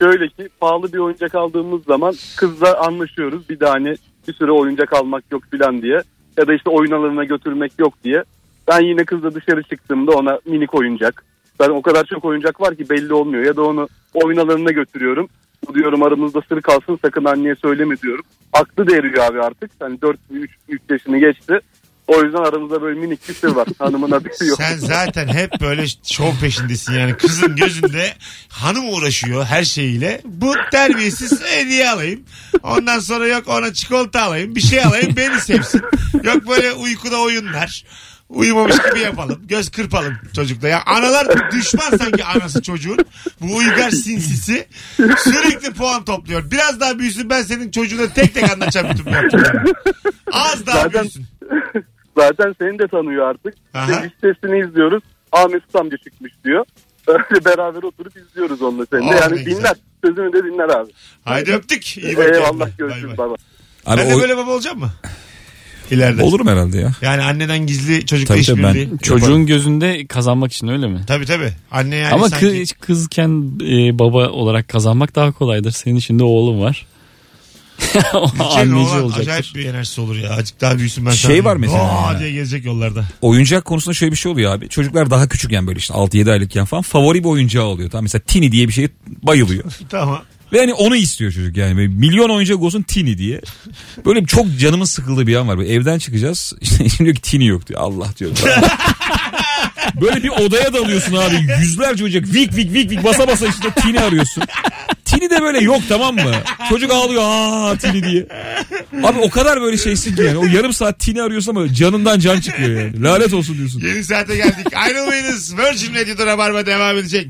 Speaker 9: Şöyle ki pahalı bir oyuncak aldığımız zaman kızla anlaşıyoruz. Bir daha hani bir süre oyuncak almak yok filan diye. Ya da işte oyun alanına götürmek yok diye. Ben yine kızla dışarı çıktığımda ona minik oyuncak. Ben o kadar çok oyuncak var ki belli olmuyor. Ya da onu oyun alanına götürüyorum. Bu diyorum aramızda sır kalsın sakın anneye söyleme diyorum. Aklı da eriyor abi artık. Hani 4 3, 3 yaşını geçti. O yüzden aramızda böyle minik bir sır var. Hanımın haberi yok.
Speaker 3: Sen zaten hep böyle şov peşindesin yani. Kızın gözünde hanım uğraşıyor her şeyiyle. Bu terbiyesiz hediye alayım. Ondan sonra yok ona çikolata alayım. Bir şey alayım beni sevsin. Yok böyle uykuda oyunlar. Uyumamış gibi yapalım. Göz kırpalım çocukla. Ya analar düşman sanki anası çocuğun. Bu uygar sinsisi sürekli puan topluyor. Biraz daha büyüsün ben senin çocuğuna tek tek anlatacağım bütün bu yaptıklarını. Az daha
Speaker 9: Zaten-
Speaker 3: büyüsün.
Speaker 9: Zaten seni de tanıyor artık.
Speaker 3: Aha.
Speaker 9: İşte listesini izliyoruz. Ahmet Usta amca çıkmış diyor. *laughs* Öyle beraber oturup izliyoruz onunla seni
Speaker 3: Aa,
Speaker 9: de. Yani
Speaker 3: ne güzel.
Speaker 9: dinler. Sözünü de dinler abi.
Speaker 3: Haydi öptük. İyi bak kendine.
Speaker 9: Eyvallah
Speaker 3: Bay bay.
Speaker 9: görüşürüz. Bay bay.
Speaker 3: ben
Speaker 4: Abi
Speaker 3: de
Speaker 4: Hani o-
Speaker 3: böyle baba olacağım mı? İleride.
Speaker 4: olurum herhalde ya.
Speaker 3: Yani anneden gizli çocukla
Speaker 4: Tabii
Speaker 3: iş
Speaker 4: tabii ben-
Speaker 3: birliği.
Speaker 2: Çocuğun gözünde kazanmak için öyle mi?
Speaker 3: Tabii tabii. Anne yani
Speaker 2: Ama
Speaker 3: sanki...
Speaker 2: kız, kızken e, baba olarak kazanmak daha kolaydır. Senin şimdi oğlum var. *laughs*
Speaker 3: Senin
Speaker 2: Anneci
Speaker 3: oğlan
Speaker 2: olacaktır.
Speaker 3: acayip bir enerjisi olur ya. Azıcık daha büyüsün ben
Speaker 4: Şey
Speaker 3: sana
Speaker 4: var
Speaker 3: diyeyim.
Speaker 4: mesela
Speaker 3: Oo
Speaker 4: ya.
Speaker 3: diye gezecek yollarda.
Speaker 4: Oyuncak konusunda şöyle bir şey oluyor abi. Çocuklar daha küçükken böyle işte 6-7 aylıkken falan favori bir oyuncağı oluyor. Tamam mesela Tini diye bir şeye bayılıyor.
Speaker 3: Tamam.
Speaker 4: Ve hani onu istiyor çocuk yani. Böyle milyon oyuncak olsun Tini diye. Böyle çok canımın sıkıldığı bir an var. Böyle evden çıkacağız. *laughs* İşte şimdi diyor ki Tini yok diyor. Allah diyor. *laughs* Böyle bir odaya dalıyorsun abi. Yüzlerce oyuncak vik vik vik vik basa basa işte Tini arıyorsun. Tini de böyle yok tamam mı? Çocuk ağlıyor aa Tini diye. Abi o kadar böyle şeysin ki yani. O yarım saat Tini arıyorsun ama canından can çıkıyor yani. Lanet olsun diyorsun.
Speaker 3: Yeni saate geldik. Ayrılmayınız. Virgin Radio'da Rabarba devam edecek.